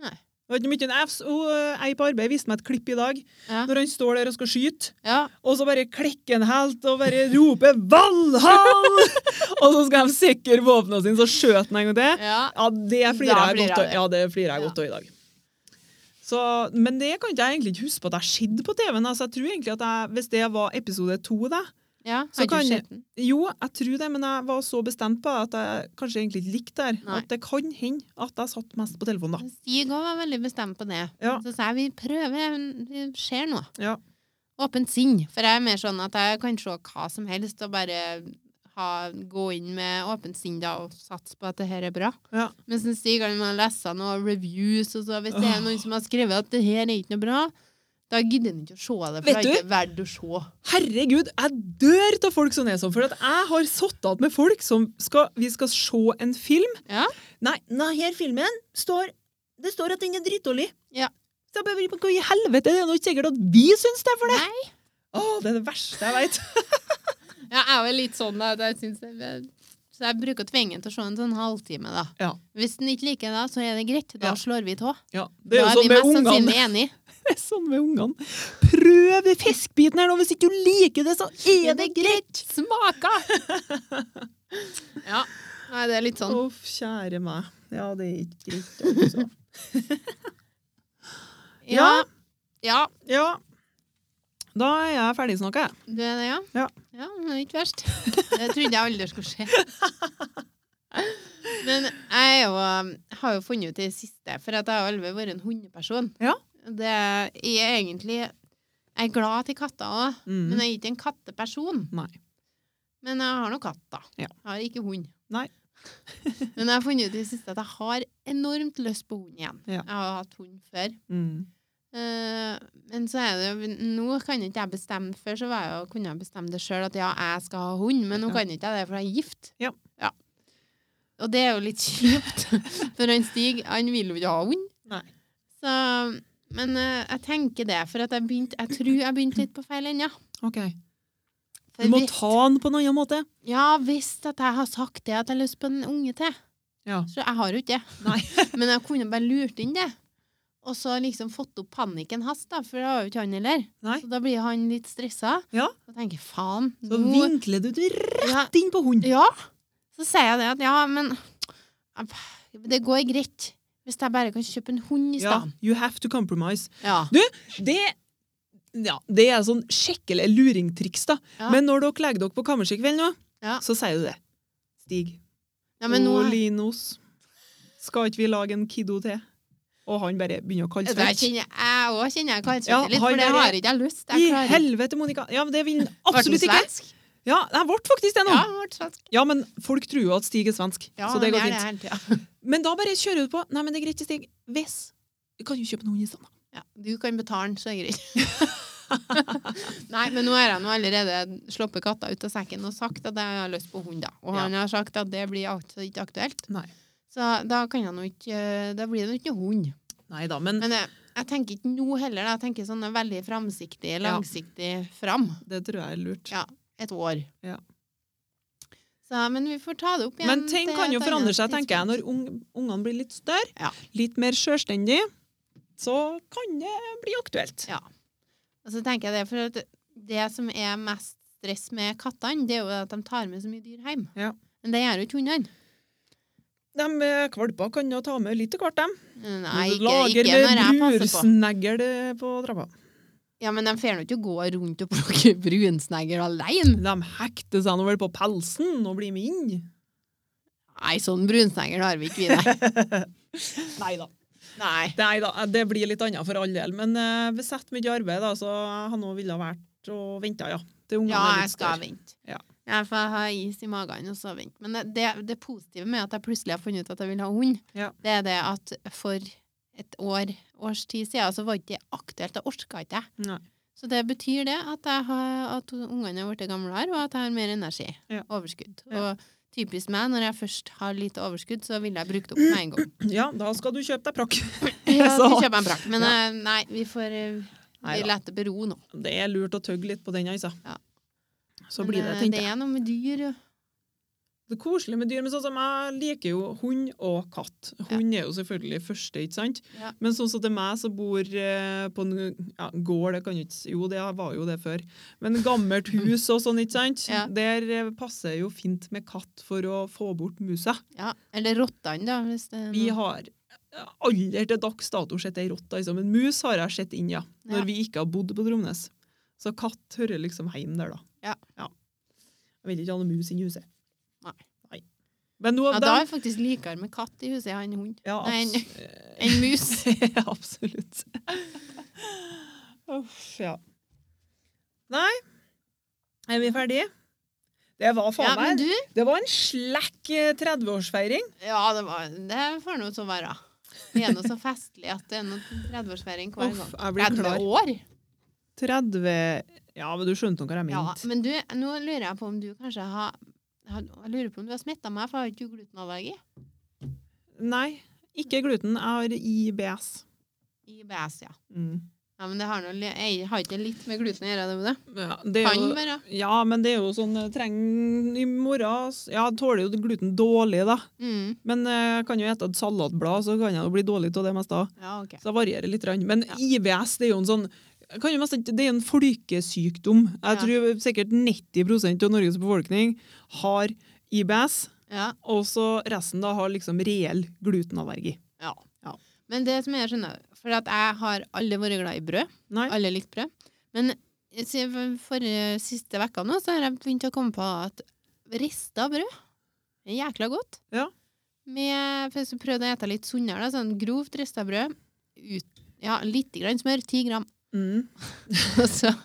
Speaker 1: Nei.
Speaker 3: Det var ikke mye en Fs. Hun, eh, Ei på arbeid viste meg et klipp i dag
Speaker 1: Ja.
Speaker 3: når han står der og skal skyte.
Speaker 1: ja.
Speaker 3: Og så bare klikker han helt og bare roper 'Valhall!' og så skal de sikre våpnene sine, så skjøt han en gang til.
Speaker 1: ja.
Speaker 3: Ja, det
Speaker 1: Da
Speaker 3: flirer jeg
Speaker 1: flirer
Speaker 3: godt
Speaker 1: jeg
Speaker 3: av.
Speaker 1: det.
Speaker 3: Ja, det flirer jeg
Speaker 1: Ja.
Speaker 3: godt av i dag. Så, men det kan ikke jeg egentlig ikke huske på at jeg skjedde på TV-en. Altså, jeg tror egentlig at jeg, Hvis det var episode to, da
Speaker 1: ja.
Speaker 3: Så
Speaker 1: Har
Speaker 3: kan-
Speaker 1: du sett den?
Speaker 3: Jo, jeg tror det, men jeg var så bestemt på at jeg kanskje egentlig ikke likte det her.
Speaker 1: Nei.
Speaker 3: At det kan hende at jeg satt mest på telefonen, da.
Speaker 1: Stig òg var veldig bestemt på det.
Speaker 3: Ja.
Speaker 1: Så sa jeg vi prøver, vi ser noe.
Speaker 3: Ja.
Speaker 1: Åpent sinn. For jeg er mer sånn at jeg kan se hva som helst og bare ha, gå inn med åpent sinn da og satse på at det her er bra.
Speaker 3: Ja.
Speaker 1: Mens en Stig han må lese noen reviews, og så hvis det er noen som har skrevet at det her er ikke noe bra, da gidder han ikke å se det, for
Speaker 3: Vet
Speaker 1: det er ikke verdt å se.
Speaker 3: Herregud, jeg dør av folk som er sånn, for at jeg har satt av med folk som skal, vi skal se en film.
Speaker 1: Ja.
Speaker 3: Nei, nei, her filmen står, det står at den er drittålig.
Speaker 1: Ja.
Speaker 3: Så jeg bare, hva i helvete, det er jo ikke sikkert at vi syns det er for det.
Speaker 1: Nei.
Speaker 3: Å, det er det verste jeg vet.
Speaker 1: Ja, jeg er vel litt sånn da, at jeg synes jeg, så jeg bruker å tvinge han til å se en sånn halvtime da.
Speaker 3: Ja.
Speaker 1: Hvis han ikke liker det, så er det greit, da
Speaker 3: Ja.
Speaker 1: slår vi tå.
Speaker 3: Ja, det
Speaker 1: Da
Speaker 3: er
Speaker 1: er
Speaker 3: jo
Speaker 1: vi
Speaker 3: sånn med
Speaker 1: mest
Speaker 3: ungene.
Speaker 1: sannsynlig enige.
Speaker 3: Det er sånn med ungene. Prøv fiskbiten her nå, hvis ikke du liker det, så er det greit.
Speaker 1: Smaka! ja, nei, det er litt sånn.
Speaker 3: Uff, kjære meg. Ja, det er ikke greit, altså.
Speaker 1: Ja. Ja,
Speaker 3: Ja. Da er jeg ferdig snakka, jeg.
Speaker 1: du er det, ja?
Speaker 3: Ja.
Speaker 1: Ja, men ikke verst. Det trodde jeg aldri skulle skje. Men jeg er jo, um, har jo funnet ut det siste, for at jeg har aldri vært en hundeperson.
Speaker 3: Ja.
Speaker 1: Det er egentlig Jeg er glad til katter òg,
Speaker 3: Mm.
Speaker 1: men jeg er ikke en katteperson.
Speaker 3: Nei.
Speaker 1: Men jeg har nå katt, da.
Speaker 3: Ja.
Speaker 1: Jeg har ikke hund.
Speaker 3: Nei.
Speaker 1: men jeg har funnet ut i det siste at jeg har enormt lyst på hund igjen.
Speaker 3: Ja.
Speaker 1: Jeg har hatt hund før.
Speaker 3: Mm.
Speaker 1: Eh, men så er det jo Nå kan ikke jeg bestemme Før så var jeg jo, kunne jeg bestemme det sjøl at ja, jeg skal ha hund, men nå
Speaker 3: Ja.
Speaker 1: kan ikke jeg det, for jeg er gift.
Speaker 3: Ja.
Speaker 1: Og det er jo litt kjipt, for han Stig han vil jo ikke ha hund.
Speaker 3: Nei.
Speaker 1: Så, men eh, jeg tenker det, for at jeg, begynte, jeg tror jeg begynte litt på feil ende.
Speaker 3: Ok.
Speaker 1: For
Speaker 3: Du må
Speaker 1: hvis-
Speaker 3: ta den på en annen måte.
Speaker 1: Ja, hvis at jeg har sagt det at jeg har lyst på en unge til.
Speaker 3: Ja.
Speaker 1: Så jeg har jo ikke det.
Speaker 3: Nei.
Speaker 1: Men jeg kunne bare lurt inn det. Og så liksom fått opp panikken hans, da, for det har jo ikke han heller.
Speaker 3: Nei.
Speaker 1: Så da blir han litt stressa.
Speaker 3: Ja.
Speaker 1: Og tenker faen,
Speaker 3: Så
Speaker 1: nå
Speaker 3: vinkler du det
Speaker 1: ja,
Speaker 3: rett inn på hunden.
Speaker 1: ja. Så sier jeg det at ja, men eh, det går greit. Hvis jeg bare kan kjøpe en hund i
Speaker 3: Ja,
Speaker 1: stad.
Speaker 3: you have to compromise.
Speaker 1: Ja.
Speaker 3: Du, det ja, det er sånn skikkelig luringtriks, da.
Speaker 1: Ja.
Speaker 3: Men når dere legger dere på kammerset i kveld nå,
Speaker 1: Ja.
Speaker 3: så sier du det. Stig.
Speaker 1: Ja, men nå,
Speaker 3: Olinos. Skal ikke vi lage en kiddo til? Og han bare begynner å kalle
Speaker 1: det kjenner jeg òg kjenner jeg kaldsvette
Speaker 3: Ja,
Speaker 1: litt,
Speaker 3: han
Speaker 1: for det
Speaker 3: der er-
Speaker 1: har ikke jeg lyst
Speaker 3: I
Speaker 1: til. Jeg klarer ikke.
Speaker 3: helvete, Monica! Ja, men Det vil han
Speaker 1: Ble den
Speaker 3: absolutt ikke.
Speaker 1: svensk?
Speaker 3: Ja, Jeg ble faktisk det nå.
Speaker 1: Ja,
Speaker 3: Ja.
Speaker 1: han ble svensk.
Speaker 3: men folk tror jo at Stig er svensk,
Speaker 1: Ja,
Speaker 3: så det
Speaker 1: han
Speaker 3: går
Speaker 1: er
Speaker 3: fint.
Speaker 1: hele tiden.
Speaker 3: Men da bare kjører du på. Nei, men det er greit, Stig. Hvis Du kan jo kjøpe en hund i stedet.
Speaker 1: Ja, du kan betale den, så er det greit. Nei, men nå har jeg nå allerede sluppet katta ut av sekken og sagt at jeg har lyst på hund, da. Og
Speaker 3: Ja.
Speaker 1: han har sagt at det blir altså ikke aktuelt.
Speaker 3: Nei.
Speaker 1: Så da kan jeg nå ikke eh, Da blir det nå ikke noe hund.
Speaker 3: Nei da, men
Speaker 1: Men jeg, jeg tenker ikke nå heller, da. Jeg tenker sånn veldig framsiktig, langsiktig fram.
Speaker 3: det tror jeg er lurt.
Speaker 1: Ja. Et år.
Speaker 3: Ja.
Speaker 1: Så, men vi får ta det opp igjen.
Speaker 3: Men ting
Speaker 1: til
Speaker 3: kan jo
Speaker 1: et
Speaker 3: forandre
Speaker 1: annet
Speaker 3: seg, tenker jeg,
Speaker 1: tidspunkt.
Speaker 3: når ung, ungene blir litt større,
Speaker 1: Ja.
Speaker 3: litt mer sjølstendig, så kan det bli aktuelt.
Speaker 1: Ja. Og så tenker jeg det, for at det som er mest stress med kattene, det er jo at de tar med så mye dyr hjem.
Speaker 3: Ja.
Speaker 1: Men det gjør jo ikke hundene.
Speaker 3: De eh, kvalper kan jo ta med litt av hvert, dem.
Speaker 1: Mm, Nei, ikke,
Speaker 3: Lager
Speaker 1: ikke når jeg
Speaker 3: med
Speaker 1: passer på.
Speaker 3: brursnegl eh, på trappa.
Speaker 1: Ja, men de får nå ikke gå rundt og plukke brunsnegger alene.
Speaker 3: De hekter seg nå vel på pelsen og blir med inn.
Speaker 1: Nei, sånn brunsnegger har vi ikke, vi, nei.
Speaker 3: Nei da.
Speaker 1: nei.
Speaker 3: eh, det blir litt annet for all del. Men eh, vi setter mye arbeid, da, så jeg har nå ville vært og venta, ja. Til ungene
Speaker 1: Ja,
Speaker 3: er
Speaker 1: jeg
Speaker 3: litt
Speaker 1: skal
Speaker 3: større.
Speaker 1: vente.
Speaker 3: Ja.
Speaker 1: Jeg får ha is i magen og så vente. Men det, det, det positive med at jeg plutselig har funnet ut at jeg vil ha hund,
Speaker 3: Ja.
Speaker 1: det er det at for et år, års tid siden, så var ikke det aktuelt. Jeg orka ikke.
Speaker 3: Nei.
Speaker 1: Så det betyr det at, jeg har, at ungene har blitt gamlere, og at jeg har mer energi.
Speaker 3: Ja.
Speaker 1: Overskudd.
Speaker 3: Ja.
Speaker 1: Og typisk meg, når jeg først har lite overskudd, så vil jeg bruke det opp med en gang.
Speaker 3: Ja, da skal du kjøpe deg prakk.
Speaker 1: Ja, så
Speaker 3: Så-
Speaker 1: kjøper jeg en brakk. Men
Speaker 3: Ja.
Speaker 1: eh, nei, vi får eh, vi
Speaker 3: Neida.
Speaker 1: lar det bero nå.
Speaker 3: Det er lurt å tøgge litt på den, altså.
Speaker 1: Ja.
Speaker 3: Så
Speaker 1: Men,
Speaker 3: blir det,
Speaker 1: eh,
Speaker 3: tenkte jeg.
Speaker 1: er noe med dyr. og-
Speaker 3: Det er koselig med dyr, men sånn som jeg liker jo hund og katt. Hund er jo selvfølgelig første, ikke sant?
Speaker 1: Ja.
Speaker 3: Men sånn som til meg som bor eh, på en ja, gård, det kan jo ikke Jo, det var jo det før. Men gammelt hus og sånn, ikke sant?
Speaker 1: Ja.
Speaker 3: Der eh, passer jo fint med katt for å få bort musa.
Speaker 1: Ja. Eller rottene, da. Hvis det er
Speaker 3: Vi
Speaker 1: noe.
Speaker 3: har aldri til dags dato sett ei rotte, liksom. Men mus har jeg sett inn, ja. Når
Speaker 1: Ja.
Speaker 3: vi ikke har bodd på Dromnes. Så katt hører liksom heim der, da.
Speaker 1: Ja.
Speaker 3: Jeg vil ikke ha noe mus inn i huset.
Speaker 1: Nei.
Speaker 3: Men nå,
Speaker 1: ja, da
Speaker 3: da,
Speaker 1: er jeg faktisk likere med katt i huset enn hund.
Speaker 3: ja,
Speaker 1: Nei,
Speaker 3: abs
Speaker 1: Enn mus.
Speaker 3: Ja, absolutt. Uff, ja. Nei, er vi ferdige? Det var faen
Speaker 1: Ja, men
Speaker 3: meg
Speaker 1: du
Speaker 3: Det var en slekk eh, 30-årsfeiring.
Speaker 1: Ja, det, var, det får nå så være. Vi er nå så festlige at det er noe 30-årsfeiring hver gang.
Speaker 3: Uff, jeg blir
Speaker 1: 30
Speaker 3: klar.
Speaker 1: år?
Speaker 3: 30 Ja, men du skjønte nå hva jeg
Speaker 1: Ja,
Speaker 3: mente.
Speaker 1: men du, nå lurer jeg på om du kanskje har har- jeg lurer på om du har smitta meg, for jeg har ikke glutenallergi.
Speaker 3: Nei, ikke gluten. Jeg har IBS.
Speaker 1: IBS, ja.
Speaker 3: Mm.
Speaker 1: ja men det har, noe, jeg har ikke litt med gluten å gjøre, det med det?
Speaker 3: Ja, det er
Speaker 1: Kan
Speaker 3: jo,
Speaker 1: være.
Speaker 3: ja, men det er jo sånn eh, Trenger i morgen s- Ja, jeg tåler jo gluten dårlig, da.
Speaker 1: Mm.
Speaker 3: Men eh, jeg kan jo spise et salatblad, så kan jeg jo bli dårlig av det meste.
Speaker 1: Ja, ok.
Speaker 3: Så det varierer litt. grann. Men
Speaker 1: Ja.
Speaker 3: IBS det er jo en sånn jeg kan jo mest, ikke- det er en folkesykdom. Jeg
Speaker 1: Ja.
Speaker 3: tror sikkert 90 av Norges befolkning har IBS,
Speaker 1: Ja,
Speaker 3: og så resten da har liksom reell glutenallergi.
Speaker 1: ja.
Speaker 3: Ja.
Speaker 1: Men det som jeg skjønner, for at jeg har alle vært glad i brød.
Speaker 3: Nei.
Speaker 1: Alle likt brød. Men se, for forrige- siste vekka nå, så har jeg begynt å komme på at rista brød er jækla godt.
Speaker 3: Ja.
Speaker 1: Med, for så prøvde jeg å ete litt sunnere, da, sånn grovt rista brød. Ut, ja, litt grann smør, 10 gram.
Speaker 3: Mm.
Speaker 1: Og så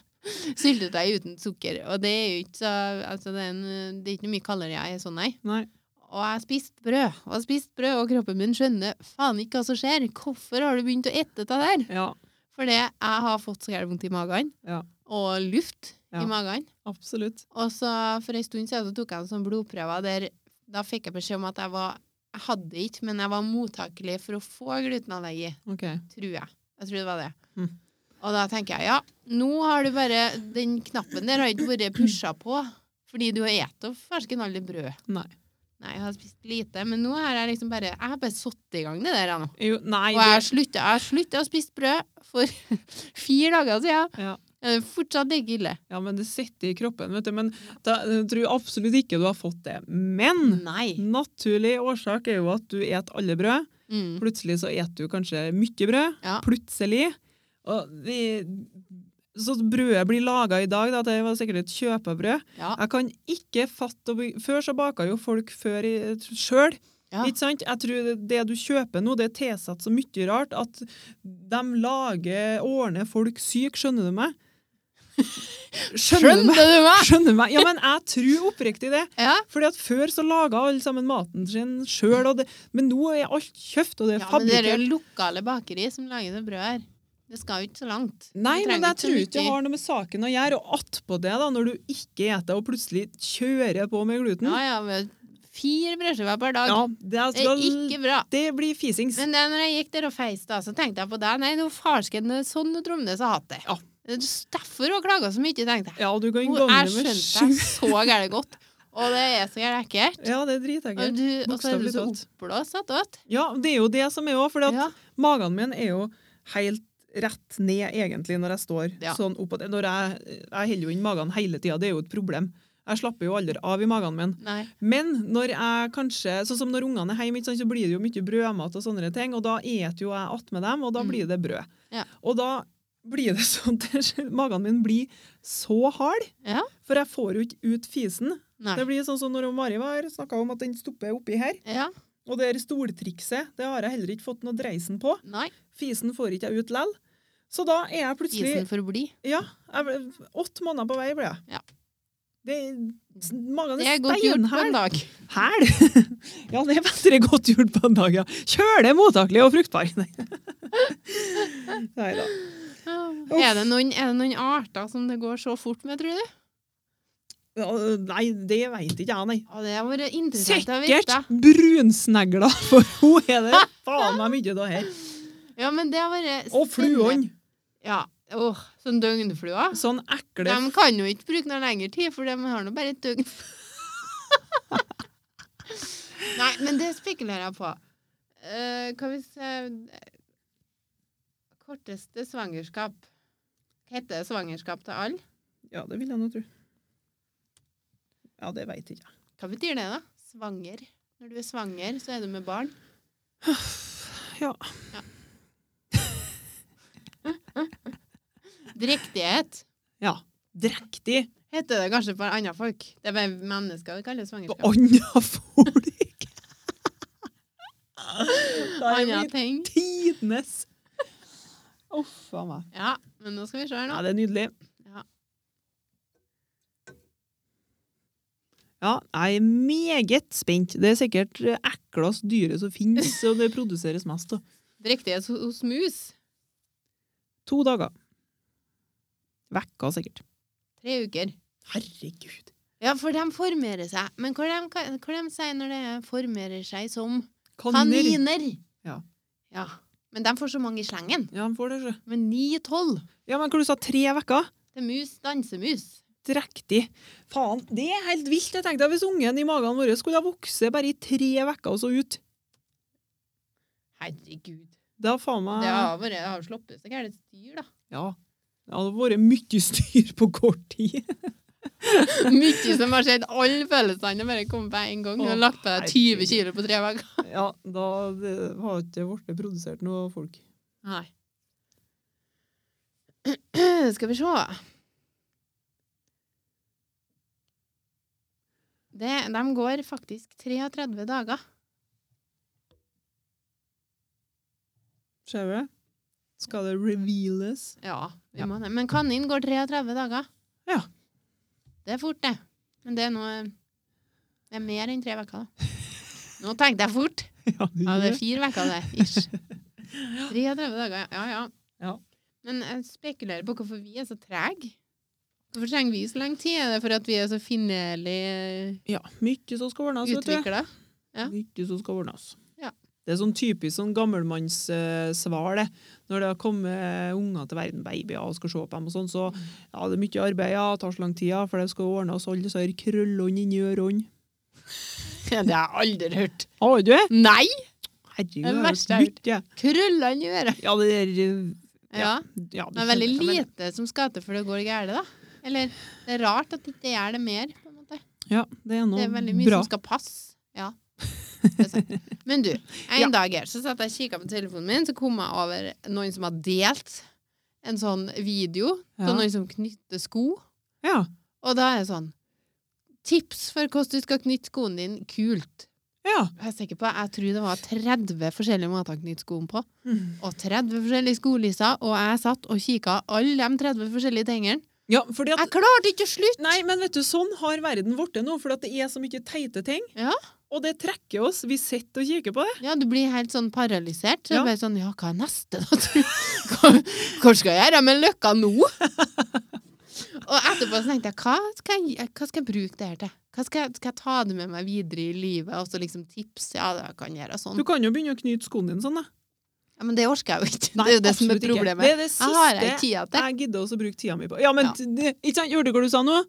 Speaker 1: syltetøy uten sukker. Og det er jo ikke så altså det, er en, det er ikke noe mye kalorier i sånn, nei.
Speaker 3: Nei.
Speaker 1: Og jeg har spist brød, og jeg har spist brød, og kroppen min skjønner faen ikke hva som skjer. Hvorfor har du begynt å ete det der?
Speaker 3: Ja,
Speaker 1: Fordi jeg har fått så jævlig vondt i magen,
Speaker 3: Ja.
Speaker 1: og luft
Speaker 3: Ja.
Speaker 1: i magen.
Speaker 3: absolutt.
Speaker 1: Og så for en stund siden så tok jeg en sånn blodprøve der da fikk jeg beskjed om at jeg var jeg hadde ikke, men jeg var mottakelig for å få glutenallergi,
Speaker 3: Ok.
Speaker 1: tror jeg. Jeg tror det var det.
Speaker 3: Mm.
Speaker 1: Og da tenker jeg, ja, nå har du bare Den knappen der har ikke vært pusha på, fordi du har spist fersken aldri brød.
Speaker 3: Nei.
Speaker 1: Nei, jeg har spist lite, men nå har jeg liksom bare Jeg har bare satt i gang det der, jeg nå.
Speaker 3: Jo, nei,
Speaker 1: Og jeg har
Speaker 3: det-
Speaker 1: slutta- jeg har slutta å spise brød for fire dager siden.
Speaker 3: Ja.
Speaker 1: Det er fortsatt ikke ille.
Speaker 3: ja, men det sitter i kroppen, vet du. Men da, jeg tror absolutt ikke du har fått det. Men
Speaker 1: Nei.
Speaker 3: naturlig årsak er jo at du et alle brød.
Speaker 1: Mm.
Speaker 3: Plutselig så et du kanskje mye brød.
Speaker 1: Ja.
Speaker 3: Plutselig. Og vi, så brødet blir laga i dag, da, det var sikkert et kjøpebrød.
Speaker 1: Ja.
Speaker 3: Jeg kan ikke fatte og be- Før så baka jo folk før i- sjøl.
Speaker 1: Ja.
Speaker 3: Ikke sant? Jeg tror det- Det du kjøper nå, det er tilsatt så mye rart at de lager, ordner folk syk, skjønner du meg? Skjønner du meg?
Speaker 1: Skjønte du meg?!
Speaker 3: Skjønner du meg? Ja, men jeg tror oppriktig det.
Speaker 1: Ja.
Speaker 3: Fordi at Før så laga alle sammen maten sin sjøl, men nå er alt kjøpt, og det er
Speaker 1: ja, men det er jo
Speaker 3: fabrikkert.
Speaker 1: lokale bakeri som lager det brødet her. Det skal jo ikke så langt.
Speaker 3: Nei,
Speaker 1: Du
Speaker 3: men
Speaker 1: trenger
Speaker 3: jeg tror
Speaker 1: så
Speaker 3: ikke det
Speaker 1: mye.
Speaker 3: har noe med saken å gjøre. Og attpå det, da, når du ikke eter og plutselig kjører på med gluten
Speaker 1: Ja, ja, men fire brødskiver per dag.
Speaker 3: Ja, det, er-
Speaker 1: Det er ikke bra.
Speaker 3: det blir fisings.
Speaker 1: Men da når jeg gikk der og feis, da, så tenkte jeg på deg. Nei, nå farsken det er sånn og Tromnes har hatt det.
Speaker 3: Ja.
Speaker 1: Det er Derfor hun klaga så mye, tenkte jeg.
Speaker 3: Ja, du kan
Speaker 1: Hun-
Speaker 3: gange
Speaker 1: jeg
Speaker 3: med
Speaker 1: skjønte
Speaker 3: sju.
Speaker 1: deg så gærent godt. Og det er så gærent ekkelt.
Speaker 3: Ja, det er dritekkelt.
Speaker 1: Og, du- og så er du
Speaker 3: Bokstavelig
Speaker 1: så
Speaker 3: talt.
Speaker 1: oppblåst attåt.
Speaker 3: Ja, det er jo det som er òg, for
Speaker 1: Ja.
Speaker 3: magen min er jo helt rett ned egentlig når jeg står
Speaker 1: Ja.
Speaker 3: sånn oppå det. Når jeg, jeg holder jo inn magen hele tida, det er jo et problem. Jeg slapper jo aldri av i magen min.
Speaker 1: Nei.
Speaker 3: Men når jeg kanskje, sånn som når ungene er hjemme, ikke sant, så blir det jo mye brødmat og sånne ting, og da et jo jeg att med dem, og da
Speaker 1: Mm.
Speaker 3: blir det brød.
Speaker 1: Ja.
Speaker 3: Og da blir det sånn at magen min blir så hard,
Speaker 1: Ja.
Speaker 3: for jeg får jo ikke ut fisen.
Speaker 1: Nei.
Speaker 3: Det blir sånn som når Mari var her, snakka om at den stopper oppi her.
Speaker 1: Ja.
Speaker 3: Og det her stoltrikset, det har jeg heller ikke fått noe dreisen på.
Speaker 1: Nei.
Speaker 3: Fisen får ikke jeg ut lell. Så da er jeg plutselig
Speaker 1: Isen får bli.
Speaker 3: Ja, jeg ble, åtte måneder på vei ble jeg.
Speaker 1: Ja.
Speaker 3: Det, magen
Speaker 1: Det
Speaker 3: er
Speaker 1: er godt gjort på en
Speaker 3: steinhard.
Speaker 1: dag.
Speaker 3: Hæl? Ja, det er bedre godt gjort på en dag, ja. Kjølig, mottakelig og fruktbar. Nei. Neida.
Speaker 1: Er det, noen, er det noen arter som det går så fort med, tror du?
Speaker 3: Ja, Nei, det veit ikke jeg, nei.
Speaker 1: Å, det har vært interessant å
Speaker 3: Sikkert
Speaker 1: vite.
Speaker 3: brunsnegler, for hun er det faen meg mye av her.
Speaker 1: Ja, men det har vært
Speaker 3: Og fluene.
Speaker 1: Ja. Åh, sånn døgnflua.
Speaker 3: Sånn ekle
Speaker 1: De kan jo ikke bruke noe lengre tid, for de har nå bare et døgn. Nei, men det spekulerer jeg på. Eh, hva hvis eh, Korteste svangerskap. Heter det svangerskap til alle?
Speaker 3: Ja, det vil jeg nå tro. Ja, det veit ikke jeg.
Speaker 1: Hva betyr det, da? Svanger. Når du er svanger, så er du med barn.
Speaker 3: Ja.
Speaker 1: Drektighet
Speaker 3: ja. Drektig
Speaker 1: heter det kanskje for andre folk. Det er bare mennesker vi kaller
Speaker 3: på
Speaker 1: svangerskap.
Speaker 3: anna folk. Da er
Speaker 1: Andre
Speaker 3: vi
Speaker 1: ting.
Speaker 3: tidenes Uff a meg.
Speaker 1: Ja, men nå skal vi se her,
Speaker 3: Ja,
Speaker 1: nå.
Speaker 3: det er nydelig.
Speaker 1: Ja.
Speaker 3: Ja, jeg er meget spent. Det er sikkert eh, eklest dyret som finnes, og det produseres mest av.
Speaker 1: Drektighet hos- hos mus.
Speaker 3: To dager. Vekka sikkert.
Speaker 1: Tre uker.
Speaker 3: Herregud.
Speaker 1: Ja, for de formerer seg. Men hva de, hva de sier når det er formerer seg som
Speaker 3: Kaniner.
Speaker 1: kaniner?
Speaker 3: Ja.
Speaker 1: ja. Men de får så mange i slengen.
Speaker 3: Ja, han får det, sjø.
Speaker 1: Men 9-12
Speaker 3: Ja, men hva du sa, tre vekker?
Speaker 1: til mus, dansemus.
Speaker 3: Drektig. Faen, det er helt vilt. Jeg tenkte hvis ungen i magen vår skulle ha vokse bare i tre vekker og så ut.
Speaker 1: Herregud.
Speaker 3: Det har faen meg...
Speaker 1: Det har vært- det har sluppet seg gærent styr, da.
Speaker 3: Ja. Det hadde vært mye styr på kort tid.
Speaker 1: Mye som har skjedd. Alle følelsene har bare kommet på en gang. Du har lagt på deg 20 kilo på tre uker.
Speaker 3: Ja, da det har ikke vært produsert noe folk.
Speaker 1: Nei. Skal vi se det, De går faktisk 33 dager.
Speaker 3: Ser du det? Skal det reveales?
Speaker 1: Ja, vi
Speaker 3: Ja.
Speaker 1: må det. Men kanin går 33 dager.
Speaker 3: Ja.
Speaker 1: Det er fort, det. Men det er noe Det er mer enn tre uker, da. Nå tenkte jeg fort.
Speaker 3: Ja, det
Speaker 1: Ja,
Speaker 3: gjør
Speaker 1: det er
Speaker 3: det.
Speaker 1: fire uker, det. Ish. 33 dager, ja ja.
Speaker 3: Ja.
Speaker 1: Men jeg spekulerer på hvorfor vi er så trege. Hvorfor trenger vi så lang tid? Er det for at vi er så finnerlig
Speaker 3: ja, mye som skal ordnes, vet du.
Speaker 1: utvikla? ja.
Speaker 3: Mye som skal ordnes.
Speaker 1: Ja.
Speaker 3: Det er sånn typisk sånn gammelmannssvar, det. Når det har kommet unger til verden, babyer, og skal se på dem og sånn, så ja, det er mye arbeid, ja, tar så lang tid, ja, for det skal ordnes, alle disse her krøllene inni ørene.
Speaker 1: det har jeg aldri hørt.
Speaker 3: Har du det?
Speaker 1: Nei!
Speaker 3: Herregud,
Speaker 1: Det er
Speaker 3: jeg har
Speaker 1: verst jeg har
Speaker 3: hørt mye.
Speaker 1: Krøllene i øret.
Speaker 3: Ja, det er eh,
Speaker 1: Ja.
Speaker 3: ja, du
Speaker 1: Det er veldig
Speaker 3: skjønner hva jeg mener.
Speaker 1: lite som skal til for det går galt, da. Eller det er rart at det ikke er det mer. på en måte.
Speaker 3: Ja, det er noe
Speaker 1: Det er veldig mye
Speaker 3: bra.
Speaker 1: som skal passe. Ja. Det er sant. Men du, en
Speaker 3: Ja.
Speaker 1: dag her så satt jeg og kikka på telefonen min, så kom jeg over noen som har delt en sånn video
Speaker 3: Ja.
Speaker 1: av noen som knytter sko.
Speaker 3: Ja.
Speaker 1: Og da er det sånn Tips for hvordan du skal knytte skoen din kult.
Speaker 3: ja.
Speaker 1: Jeg er sikker på, jeg tror det var 30 forskjellige måter å knytte skoen på.
Speaker 3: Mm.
Speaker 1: Og 30 forskjellige skolisser, og jeg satt og kikka alle de 30 forskjellige tingene.
Speaker 3: ja fordi at
Speaker 1: Jeg klarte ikke å slutte!
Speaker 3: Nei, men vet du, sånn har verden blitt nå, for at det er så mye teite ting.
Speaker 1: Ja.
Speaker 3: Og det trekker oss. Vi sitter og kikker på det.
Speaker 1: Ja, du blir helt sånn paralysert. Så
Speaker 3: Ja.
Speaker 1: ja. bare sånn, ja, hva er neste, da? tror jeg? Hva, hva skal jeg gjøre med løkka nå? Og etterpå så tenkte jeg, hva skal jeg, hva skal jeg bruke det her til? Hva skal, jeg- skal jeg ta det med meg videre i livet? Og så liksom tips, ja, da kan jeg gjøre
Speaker 3: Du
Speaker 1: sånn.
Speaker 3: kan jo begynne å knyte skoene dine sånn, da.
Speaker 1: Ja, men det orker jeg jo ikke.
Speaker 3: Nei,
Speaker 1: det er jo det som er
Speaker 3: absolutt ikke.
Speaker 1: problemet.
Speaker 3: Det er det
Speaker 1: Jeg har
Speaker 3: siste
Speaker 1: ikke tida til.
Speaker 3: jeg gidder også å bruke tida mi på. Ja, men
Speaker 1: Ja.
Speaker 3: Det, ikke sant, hørte du hva du sa nå?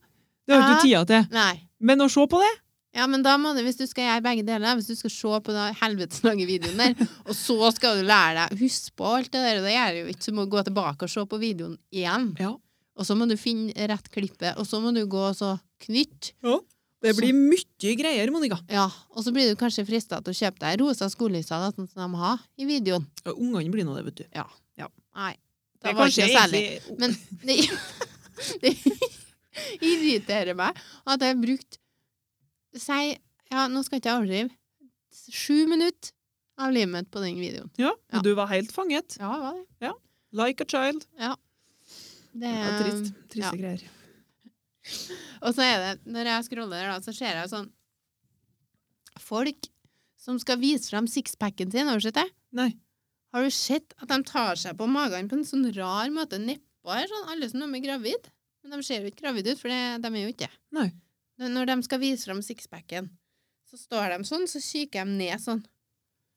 Speaker 3: Det har
Speaker 1: Ja.
Speaker 3: ikke du tida til.
Speaker 1: Nei.
Speaker 3: Men å se på det
Speaker 1: Ja, men da må du, hvis du skal gjøre begge deler, hvis du skal se på den helvetes lange videoen der, og så skal du lære deg Husk på alt det der, og det gjør du jo ikke, så må du gå tilbake og se på videoen igjen.
Speaker 3: Ja.
Speaker 1: Og så må du finne rett klippet, og så må du gå og så knytte.
Speaker 3: Det blir mye greier, Monica.
Speaker 1: Ja, og så blir du kanskje frista til å kjøpe deg rosa skolelisser, da, sånn som de har i videoen.
Speaker 3: Ja, Ungene blir nå det, vet du.
Speaker 1: Nei. Det, var ikke noe særlig. Men det, det irriterer meg at jeg har brukt Si Ja, nå skal ikke jeg overdrive. Sju minutter av livet mitt på den videoen.
Speaker 3: Ja,
Speaker 1: Ja.
Speaker 3: du var helt fanget.
Speaker 1: Ja, hva det?
Speaker 3: Like a child.
Speaker 1: Det
Speaker 3: Ehm, Ja,
Speaker 1: er
Speaker 3: trist. Triste
Speaker 1: ja.
Speaker 3: greier.
Speaker 1: Og så er det, når jeg scroller der, da, så ser jeg sånn Folk som skal vise fram sixpacken sin, har du sett det?
Speaker 3: Nei.
Speaker 1: Har du sett at de tar seg på magen på en sånn rar måte? Neppa her, sånn. Alle som er gravid. Men de ser jo ikke gravide ut, for det, de er jo ikke det.
Speaker 3: Nei.
Speaker 1: Når- Når de skal vise fram sixpacken, så står de sånn, så kikker de ned sånn.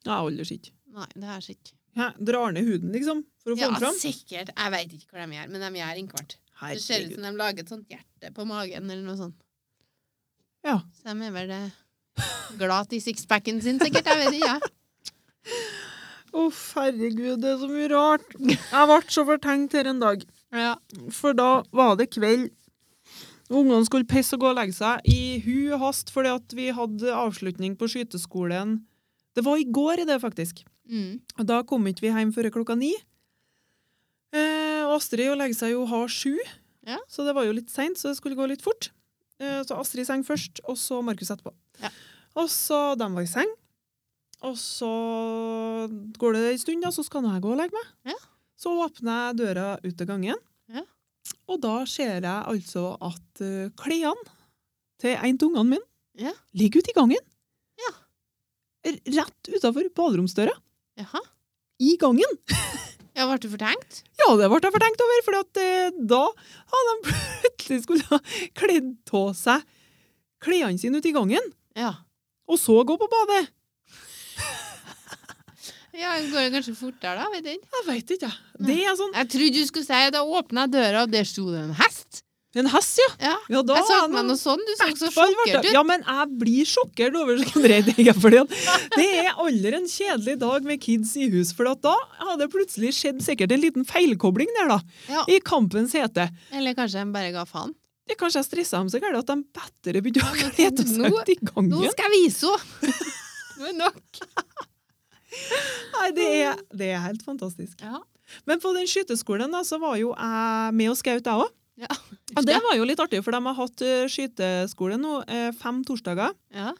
Speaker 3: Jeg holder ikke.
Speaker 1: Nei, det her ser ikke
Speaker 3: Hæ? Drar ned huden, liksom, for å få
Speaker 1: Ja,
Speaker 3: den fram?
Speaker 1: sikkert. Jeg veit ikke hva de gjør, men de gjør innkvart. Det ser ut
Speaker 3: Herregud.
Speaker 1: som de lager et sånt hjerte på magen, eller noe sånt.
Speaker 3: Ja.
Speaker 1: Så de er vel eh, glad i sixpacken sin, sikkert. Jeg vet ikke, jeg.
Speaker 3: Uff, herregud, det er så mye rart. Jeg ble så fortenkt her en dag.
Speaker 1: Ja.
Speaker 3: For da var det kveld. Ungene skulle pisse og gå og legge seg i hu og hast fordi at vi hadde avslutning på skyteskolen. Det var i går i det, faktisk.
Speaker 1: Mm.
Speaker 3: Og da kom ikke vi hjem før klokka ni. Eh, og Astrid å legge seg jo halv sju,
Speaker 1: Ja.
Speaker 3: så det var jo litt seint, så det skulle gå litt fort. Eh, så Astrid i seng først, og så Markus etterpå.
Speaker 1: Ja.
Speaker 3: Og så de var i seng. Og så går det en stund, da, så skal nå jeg gå og legge meg.
Speaker 1: Ja.
Speaker 3: Så åpner jeg døra ut til gangen,
Speaker 1: Ja.
Speaker 3: og da ser jeg altså at eh, klærne til en av ungene mine
Speaker 1: Ja.
Speaker 3: ligger ute i gangen.
Speaker 1: Ja.
Speaker 3: R- Rett utafor baderomsdøra.
Speaker 1: Jaha.
Speaker 3: I gangen!
Speaker 1: Ja, ble du fortenkt?
Speaker 3: Ja, det ble jeg fortenkt over, for at, eh, da hadde de plutselig skulle ha kledd av seg klærne sine ute i gangen,
Speaker 1: Ja.
Speaker 3: og så gå på badet.
Speaker 1: Ja, det går jo kanskje fortere da, vet jeg ikke.
Speaker 3: Jeg veit ikke, jeg. Det er sånn
Speaker 1: Jeg trodde du skulle si at jeg åpna døra, og der sto det en hest.
Speaker 3: En hest, ja.
Speaker 1: Ja.
Speaker 3: ja da
Speaker 1: jeg så
Speaker 3: er
Speaker 1: ikke meg
Speaker 3: noen-
Speaker 1: noe sånn, du så så
Speaker 3: Fall ble
Speaker 1: sjokkert
Speaker 3: det.
Speaker 1: ut.
Speaker 3: Ja, men jeg blir sjokkert over sånne rare ting. Fordi at det er aldri en kjedelig dag med kids i hus. For at da hadde det plutselig skjedd sikkert en liten feilkobling der, da.
Speaker 1: Ja.
Speaker 3: I kampens hete.
Speaker 1: Eller kanskje de bare ga faen.
Speaker 3: Det kanskje jeg stressa dem så gærent at de bedre begynte å
Speaker 1: Ja, men
Speaker 3: kle av seg
Speaker 1: nå-
Speaker 3: ute i gangen.
Speaker 1: Nå skal jeg vise henne! Nå er det nok.
Speaker 3: Nei, det er, det er helt fantastisk.
Speaker 1: Ja.
Speaker 3: Men på den skyteskolen da, så var jo jeg med og skaut, jeg òg.
Speaker 1: Ja.
Speaker 3: Og det var jo litt artig, for de har hatt eh, skyteskole nå eh, fem torsdager.
Speaker 1: Ja.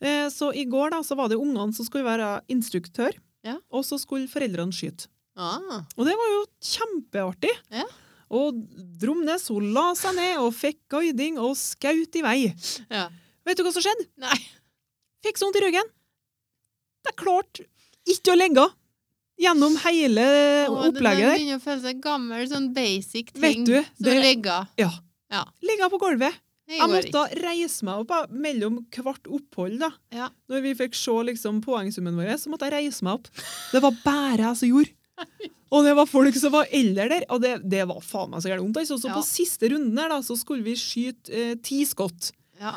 Speaker 3: Eh, Så i går da, så var det ungene som skulle være instruktør,
Speaker 1: Ja.
Speaker 3: og så skulle foreldrene skyte.
Speaker 1: Ah.
Speaker 3: Og det var jo kjempeartig.
Speaker 1: Ja.
Speaker 3: Og Dromnes hun la seg ned og fikk guiding og skaut i vei.
Speaker 1: ja.
Speaker 3: Vet du hva som skjedde?
Speaker 1: Nei.
Speaker 3: Fikk sånt i ryggen. Det er klart ikke å legge av gjennom hele
Speaker 1: Å, det-
Speaker 3: opplegget
Speaker 1: De
Speaker 3: der.
Speaker 1: begynner å føle seg gammel, sånn basic ting.
Speaker 3: Vet du,
Speaker 1: Som
Speaker 3: det-
Speaker 1: legger.
Speaker 3: Ja.
Speaker 1: Ja.
Speaker 3: Ligge på gulvet.
Speaker 1: Det
Speaker 3: Jeg
Speaker 1: går
Speaker 3: måtte
Speaker 1: ikke.
Speaker 3: da reise meg opp jeg, mellom hvert opphold. da.
Speaker 1: Ja.
Speaker 3: Når vi fikk se liksom, poengsummen vår, så måtte jeg reise meg opp. Det var bare jeg som gjorde. Og det var folk som var eldre der. Og det, det var faen meg så gærent vondt. altså. Så
Speaker 1: Ja.
Speaker 3: på siste runden her da, så skulle vi skyte eh, ti skott.
Speaker 1: Ja.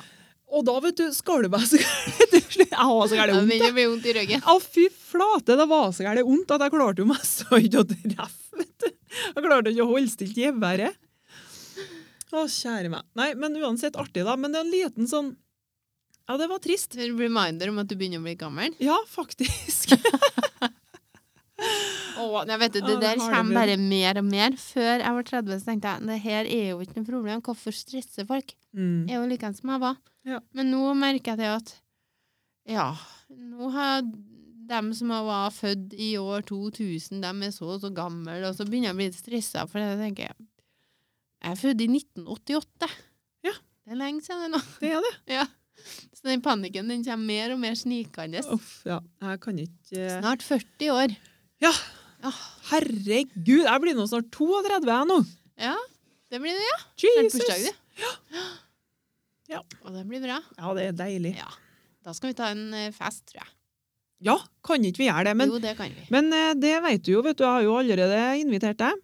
Speaker 3: Og da vet du, skalv jeg så gærent til slutt. Jeg har så
Speaker 1: Det
Speaker 3: gærent vondt.
Speaker 1: begynner å bli vondt i ryggen.
Speaker 3: Å, fy flate, det var så gærent vondt at jeg klarte jo meg så ikke å treffe. vet du. Jeg klarte ikke å holde stilt geværet. Å, kjære meg. Nei, men uansett artig, da. Men det er en liten sånn Ja, det var trist.
Speaker 1: En reminder om at du begynner å bli gammel.
Speaker 3: Ja, faktisk.
Speaker 1: Åh, nei, vet du, det
Speaker 3: Åh,
Speaker 1: der
Speaker 3: det har det
Speaker 1: kommer bare mer og mer. Før jeg var 30, så tenkte jeg det her er jo ikke noe problem. Hvorfor stresser folk?
Speaker 3: Mm.
Speaker 1: Jeg er jo likeens som jeg var.
Speaker 3: Ja.
Speaker 1: Men nå merker jeg det at ja, nå har dem som var født i år 2000, dem er så og så gamle, og så begynner jeg å bli litt stressa, for jeg tenker jeg er født i 1988.
Speaker 3: Ja.
Speaker 1: Det er lenge siden det nå.
Speaker 3: Det er det.
Speaker 1: Ja. Så den panikken den kommer mer og mer snikende.
Speaker 3: Uff, ja. Jeg kan ikke eh,
Speaker 1: Snart 40 år.
Speaker 3: Ja.
Speaker 1: Åh,
Speaker 3: Herregud, jeg blir nå snart 32 jeg nå.
Speaker 1: ja, det blir det, ja. Snart
Speaker 3: Jesus!
Speaker 1: bursdag, du.
Speaker 3: Ja.
Speaker 1: Og det blir bra.
Speaker 3: Ja, det er deilig.
Speaker 1: Ja. Da skal vi ta en eh, fest, tror jeg.
Speaker 3: Ja, kan ikke vi gjøre det, men,
Speaker 1: jo, det kan vi.
Speaker 3: men eh, det vet du jo, vet du, jeg har jo allerede invitert deg.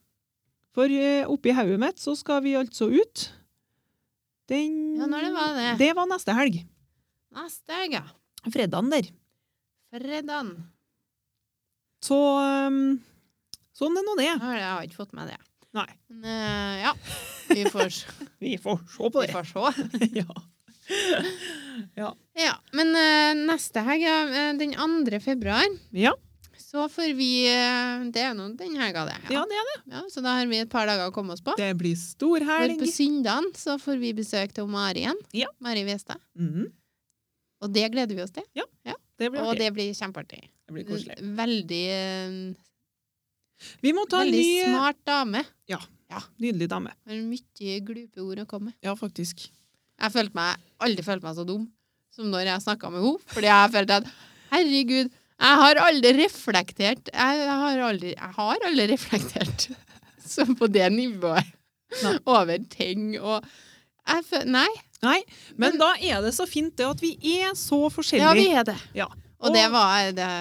Speaker 3: For eh, oppi hauet mitt så skal vi altså ut. Den...
Speaker 1: Ja, når det var det?
Speaker 3: Det var neste helg.
Speaker 1: Neste helg, ja.
Speaker 3: Fredagen der.
Speaker 1: Fredagen.
Speaker 3: Så ehm, sånn er nå det.
Speaker 1: Jeg har jeg har ikke fått med det.
Speaker 3: Nei,
Speaker 1: Men eh, ja, vi får, s-
Speaker 3: vi får se på
Speaker 1: vi
Speaker 3: det.
Speaker 1: får se.
Speaker 3: ja.
Speaker 1: Ja, men eh, neste helg, ja, eh, den 2. februar,
Speaker 3: Ja.
Speaker 1: så får vi eh, Det er nå den helga, det.
Speaker 3: ja, det er det.
Speaker 1: Ja, så da har vi et par dager å komme oss på.
Speaker 3: Det blir stor
Speaker 1: For
Speaker 3: helg.
Speaker 1: på søndagen så får vi besøk til Mari igjen.
Speaker 3: Ja.
Speaker 1: Mari Westad.
Speaker 3: Mhm,
Speaker 1: Og det gleder vi oss til.
Speaker 3: det blir
Speaker 1: Og
Speaker 3: artig.
Speaker 1: det blir kjempeartig.
Speaker 3: Det blir koselig.
Speaker 1: Veldig, eh,
Speaker 3: Vi må ta en
Speaker 1: veldig
Speaker 3: ny, eh,
Speaker 1: smart dame.
Speaker 3: nydelig dame.
Speaker 1: Har mye glupe ord å komme med.
Speaker 3: Ja, faktisk.
Speaker 1: Jeg følte meg, aldri følt meg så dum som når jeg snakka med henne. Fordi jeg følte at herregud, jeg har aldri reflektert Jeg har aldri, jeg har aldri reflektert så på det nivået
Speaker 3: Nei.
Speaker 1: over ting og jeg føl, Nei.
Speaker 3: Nei, men,
Speaker 1: Men-
Speaker 3: da er det så fint det at vi er så forskjellige.
Speaker 1: Ja, vi er det.
Speaker 3: Ja.
Speaker 1: Og det var det.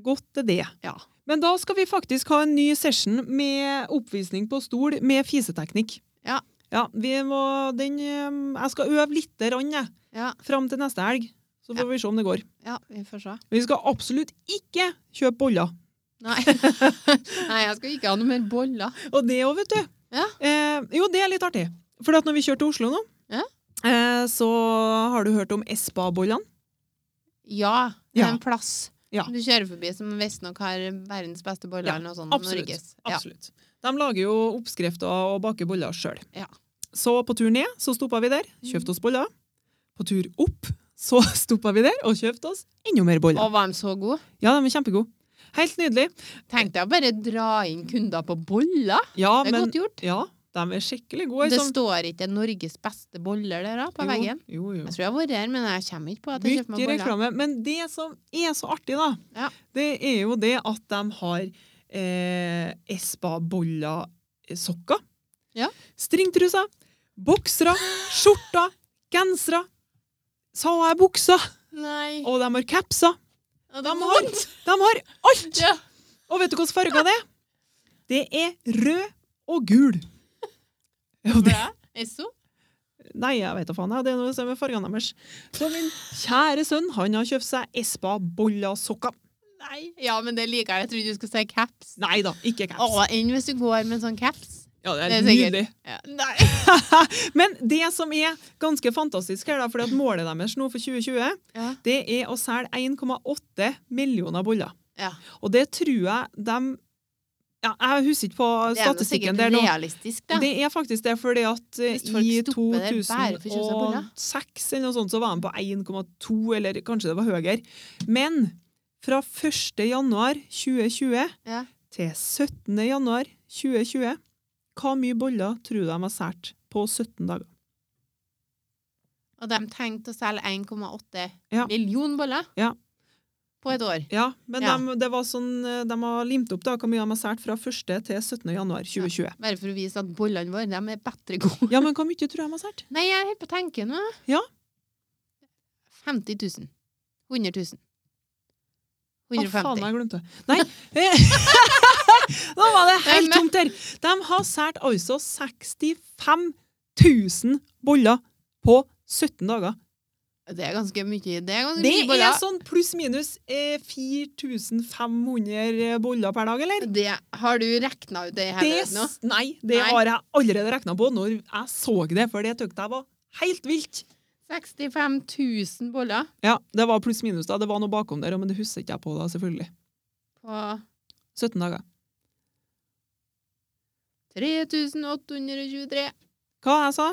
Speaker 3: Godt er det.
Speaker 1: Ja.
Speaker 3: Men da skal vi faktisk ha en ny session med oppvisning på stol med fiseteknikk.
Speaker 1: Ja.
Speaker 3: Ja, vi må, den, eh, jeg skal øve litt rann, jeg,
Speaker 1: Ja,
Speaker 3: fram til neste helg. Så får vi se om det går.
Speaker 1: ja, vi får se.
Speaker 3: Men vi skal absolutt ikke kjøpe boller.
Speaker 1: Nei. nei, jeg skal ikke ha noe mer boller.
Speaker 3: Og det òg, vet du.
Speaker 1: Ja.
Speaker 3: Eh, jo, det er litt artig. For at når vi kjører til Oslo nå,
Speaker 1: Ja.
Speaker 3: eh, så har du hørt om Espa-bollene.
Speaker 1: Ja, det er
Speaker 3: Ja.
Speaker 1: en plass
Speaker 3: Ja.
Speaker 1: som du kjører forbi som visstnok har verdens beste boller.
Speaker 3: Ja,
Speaker 1: eller noe sånt,
Speaker 3: absolutt.
Speaker 1: Norges. Ja.
Speaker 3: Absolutt. De lager jo oppskrifter og baker boller sjøl.
Speaker 1: Ja. Mhm.
Speaker 3: Så på tur ned så stoppa vi der, kjøpte oss boller. På tur opp så stoppa vi der og kjøpte oss enda mer boller.
Speaker 1: Og var de så gode?
Speaker 3: Ja, de er kjempegode. Helt nydelig.
Speaker 1: Tenkte jeg å bare dra inn kunder på boller.
Speaker 3: Ja,
Speaker 1: Det er
Speaker 3: men
Speaker 1: godt gjort.
Speaker 3: ja, de er skikkelig gode.
Speaker 1: Det
Speaker 3: som-
Speaker 1: står ikke 'Norges beste boller' der da, på veggen.
Speaker 3: Jo, jo, jo.
Speaker 1: Jeg tror jeg har vært her, men jeg kommer ikke på at jeg kjøper meg
Speaker 3: Mye
Speaker 1: boller.
Speaker 3: reklame. Men det som er så artig, da,
Speaker 1: Ja.
Speaker 3: det er jo det at de har eh, Espa-bolla-sokker,
Speaker 1: Ja.
Speaker 3: stringtruser, boksere, skjorter, gensere. Sa jeg buksa?
Speaker 1: Nei.
Speaker 3: Og de har capser.
Speaker 1: Ja, det
Speaker 3: De
Speaker 1: er
Speaker 3: har,
Speaker 1: vondt.
Speaker 3: de har alt!
Speaker 1: Ja.
Speaker 3: Og vet du hvilken farge det er? Det er rød og gul. Ja, det,
Speaker 1: Bra. Esso?
Speaker 3: nei, jeg vet da faen. jeg. Det er noe som er fargene deres. Så min kjære sønn han har kjøpt seg Espa-bolla-sokker.
Speaker 1: Nei. Ja, men det liker jeg. Jeg trodde du skulle si caps.
Speaker 3: Nei da, ikke caps.
Speaker 1: Å, enn hvis du går med en sånn caps.
Speaker 3: Ja, det
Speaker 1: Det
Speaker 3: er
Speaker 1: er sikkert-
Speaker 3: nydelig.
Speaker 1: Ja. Nei.
Speaker 3: Men det som er ganske fantastisk her, da, fordi at målet deres nå for 2020,
Speaker 1: Ja.
Speaker 3: det er å selge 1,8 millioner boller.
Speaker 1: Ja.
Speaker 3: Og det tror jeg de ja, Jeg husker ikke på
Speaker 1: Det er nå
Speaker 3: statistikken
Speaker 1: sikkert
Speaker 3: der nå.
Speaker 1: realistisk, da.
Speaker 3: Det er faktisk det, fordi at eh,
Speaker 1: Hvis folk
Speaker 3: i
Speaker 1: stopper der bare for å kjøpe seg boller.
Speaker 3: 2006 eller noe sånt, så var de på 1,2, eller kanskje det var høyere. Men fra 1. januar 2020
Speaker 1: Ja.
Speaker 3: til 17. januar 2020, hva mye boller tror du de har sært på 17 dager?
Speaker 1: Og de tenkte å selge 1,8
Speaker 3: Ja.
Speaker 1: million boller
Speaker 3: Ja.
Speaker 1: på et år.
Speaker 3: Ja, men
Speaker 1: Ja.
Speaker 3: De, det var sånn, eh, de har limt opp da, hvor mye de har sært fra 1. til 17. januar 2020. Ja.
Speaker 1: Bare for å vise at bollene våre de er bedre gode.
Speaker 3: men hvor mye tror du de har sært?
Speaker 1: Nei, jeg holder på å tenke nå.
Speaker 3: Ja.
Speaker 1: 50 000. 100 000.
Speaker 3: Å,
Speaker 1: 150.
Speaker 3: faen, jeg glemte det. Nei! eh, Nå var det helt
Speaker 1: Nei, men-
Speaker 3: tomt her! De har sært altså 65 000 boller på 17 dager.
Speaker 1: det er ganske mye. Det er ganske
Speaker 3: Det
Speaker 1: mye
Speaker 3: er
Speaker 1: boller.
Speaker 3: sånn pluss-minus eh, 4500 boller per dag, eller?
Speaker 1: Det har du regna ut det her
Speaker 3: Det,
Speaker 1: nå?
Speaker 3: s- nei, det
Speaker 1: Nei.
Speaker 3: har jeg allerede regna på når jeg så det, for det syntes jeg var helt vilt.
Speaker 1: 65 000 boller
Speaker 3: Ja, det var pluss-minus, da. Det var noe bakom der, men det husker ikke jeg på da, selvfølgelig.
Speaker 1: på
Speaker 3: 17 dager.
Speaker 1: 3823.
Speaker 3: Hva jeg sa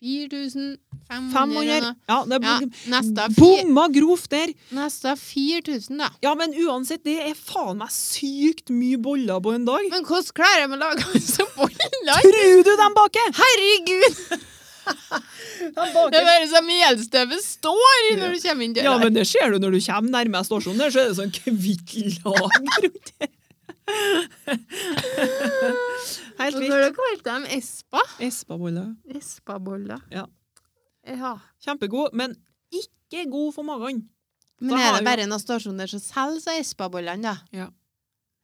Speaker 1: 4500 Mm,
Speaker 3: 500? Ja, det
Speaker 1: Ja, neste er fi-
Speaker 3: bomma grovt der!
Speaker 1: neste er 4000, da.
Speaker 3: Ja, men uansett, det er faen meg sykt mye boller på en dag.
Speaker 1: Men hvordan klarer de å lage så boller?
Speaker 3: Tror du de baker?!
Speaker 1: Herregud!
Speaker 3: De
Speaker 1: Det er bare så melstøvet står i når du kommer inn
Speaker 3: Ja,
Speaker 1: døra.
Speaker 3: men det ser du når du kommer nærmere stasjonen der, så er det sånn kvitt lag rundt her. Helt
Speaker 1: Og
Speaker 3: vilt.
Speaker 1: når du kalte dem Espa?
Speaker 3: Espaboller.
Speaker 1: Espaboller.
Speaker 3: Ja.
Speaker 1: ja.
Speaker 3: Kjempegod, men ikke god for magen.
Speaker 1: Men
Speaker 3: Da
Speaker 1: er
Speaker 3: har
Speaker 1: det
Speaker 3: jo-
Speaker 1: bare noen stasjoner som selger så Espa-bollene, da?
Speaker 3: Ja.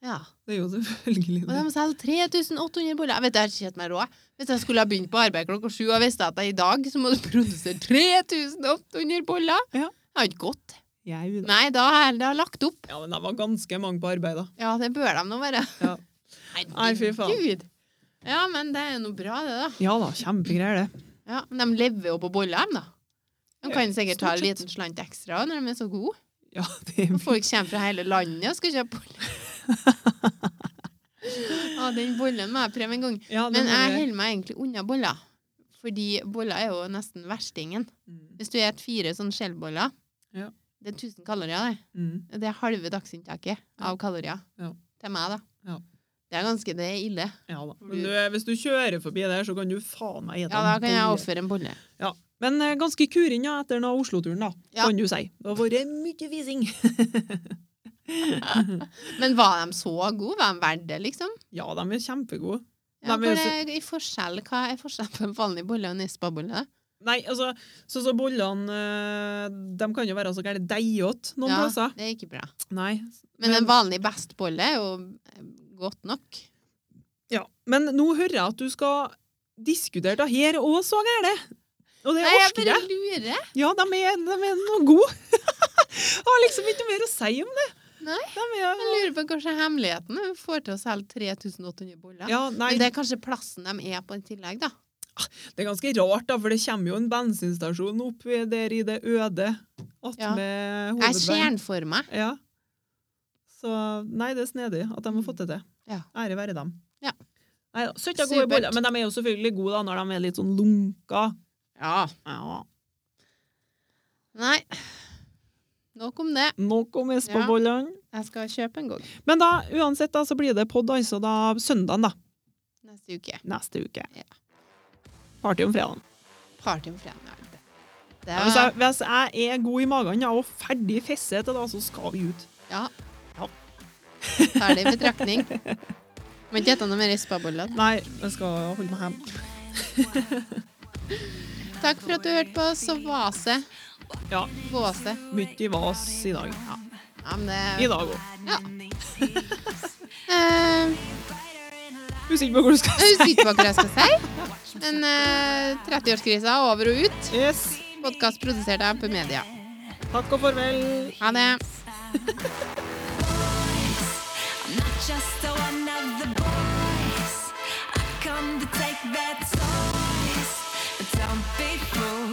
Speaker 1: ja.
Speaker 3: Det er jo selvfølgelig
Speaker 1: Og
Speaker 3: det.
Speaker 1: de selger 3800 boller. Jeg vet, jeg har ikke sett meg råd. Hvis jeg skulle ha begynt på arbeid klokka sju og visste at jeg i dag så må du produsere 3800 boller
Speaker 3: Ja.
Speaker 1: Det har ikke gått.
Speaker 3: Jau da.
Speaker 1: Nei, da har jeg da har jeg lagt opp.
Speaker 3: Ja, men det var ganske mange på arbeid, da.
Speaker 1: Ja, det bør de nå være.
Speaker 3: Ja. Nei, fy faen.
Speaker 1: Herregud. Ja, men det er jo noe bra, det, da.
Speaker 3: Ja da, kjempegreier det.
Speaker 1: Ja, men De lever jo på boller, de, da. De kan sikkert ta en
Speaker 3: stort sett.
Speaker 1: liten slant ekstra når de er så gode.
Speaker 3: Ja, det
Speaker 1: Og folk kommer fra hele landet og skal kjøpe boller. ja, den bollen må jeg prøve en gang.
Speaker 3: ja, det
Speaker 1: Men
Speaker 3: må
Speaker 1: jeg
Speaker 3: vi gjøre.
Speaker 1: holder meg egentlig unna boller. Fordi boller er jo nesten verstingen.
Speaker 3: Mm.
Speaker 1: Hvis du spiser fire sånne skjellboller
Speaker 3: Ja.
Speaker 1: Det er 1000 kalorier, det.
Speaker 3: Mm.
Speaker 1: Det er halve dagsinntaket av kalorier.
Speaker 3: Ja.
Speaker 1: Til meg, da.
Speaker 3: Ja.
Speaker 1: Det er ganske det er ille.
Speaker 3: Ja da. Men du, hvis du kjører forbi der, så kan du faen meg ete
Speaker 1: Ja, da
Speaker 3: en
Speaker 1: kan jeg
Speaker 3: bolle.
Speaker 1: ofre en bolle.
Speaker 3: Ja. Men eh, ganske kurin ja, etter den Oslo-turen, da,
Speaker 1: Ja.
Speaker 3: kan du si. Det har vært mye vising.
Speaker 1: Men var de så gode? Var de verdt det, liksom?
Speaker 3: Ja, de er kjempegode.
Speaker 1: Ja,
Speaker 3: Nei, men
Speaker 1: hva, er, i forskjell, hva er forskjellen på en vanlig bolle og en Nespa-bolle?
Speaker 3: Nei, altså, så, så bollene eh, De kan jo være så gærent deigete noen
Speaker 1: Ja,
Speaker 3: plasser.
Speaker 1: det er ikke bra.
Speaker 3: Nei.
Speaker 1: Men,
Speaker 3: Men-
Speaker 1: en vanlig bestbolle er jo eh, godt nok.
Speaker 3: Ja. Men nå hører jeg at du skal diskutere det her òg, så gære. Og det
Speaker 1: Nei, jeg
Speaker 3: orker
Speaker 1: bare
Speaker 3: jeg.
Speaker 1: lurer.
Speaker 3: Ja, de er, de er noe gode. Jeg har liksom ikke noe mer å si om det.
Speaker 1: Nei.
Speaker 3: De er,
Speaker 1: Jeg lurer på kanskje hemmeligheten når vi får til å selge 3800 boller.
Speaker 3: ja, nei,
Speaker 1: Men
Speaker 3: det,
Speaker 1: det er kanskje plassen de er på i tillegg, da.
Speaker 3: er ganske rart, da, for det kommer jo en bensinstasjon opp i- der i det øde attmed hovedveien.
Speaker 1: Jeg ser den for meg.
Speaker 3: Ja. Så nei, det er snedig at de har fått det til.
Speaker 1: Ja.
Speaker 3: Ære være dem.
Speaker 1: Ja.
Speaker 3: Nei, søtt er gode
Speaker 1: Supert.
Speaker 3: boller, men de er jo selvfølgelig gode da, når de er litt sånn lunka.
Speaker 1: Ja.
Speaker 3: Ja.
Speaker 1: Nei. Nok om det.
Speaker 3: Nok om
Speaker 1: Ja.
Speaker 3: Espa-bollene.
Speaker 1: Jeg skal kjøpe en gang
Speaker 3: Men da, uansett, da, så blir det podd altså da søndagen da,
Speaker 1: neste uke.
Speaker 3: neste uke.
Speaker 1: Ja.
Speaker 3: Party om fredagen.
Speaker 1: Party om fredag. Det
Speaker 3: Ja, Hvis, jeg, hvis jeg er god i magen ja, og ferdig fesset, da, så skal vi ut.
Speaker 1: Ja.
Speaker 3: Ja.
Speaker 1: Tar det i betraktning. Må ikke spise noe mer rispaboller.
Speaker 3: Nei, jeg skal holde meg hjemme.
Speaker 1: Takk for at du hørte på Så vase.
Speaker 3: Ja,
Speaker 1: Våse.
Speaker 3: mye vas i dag.
Speaker 1: Ja, men det
Speaker 3: I dag òg.
Speaker 1: Ja. Eh,
Speaker 3: Husker ikke på hvor du skal
Speaker 1: jeg er usikker på hva jeg skal si, men eh, 30-årskrisa er over og ut.
Speaker 3: Yes.
Speaker 1: Podkast produsert av Pumedia.
Speaker 3: Takk og farvel.
Speaker 1: Ha det.
Speaker 2: I'm not just a one of the boys. I come to take their toys. But don't be fooled.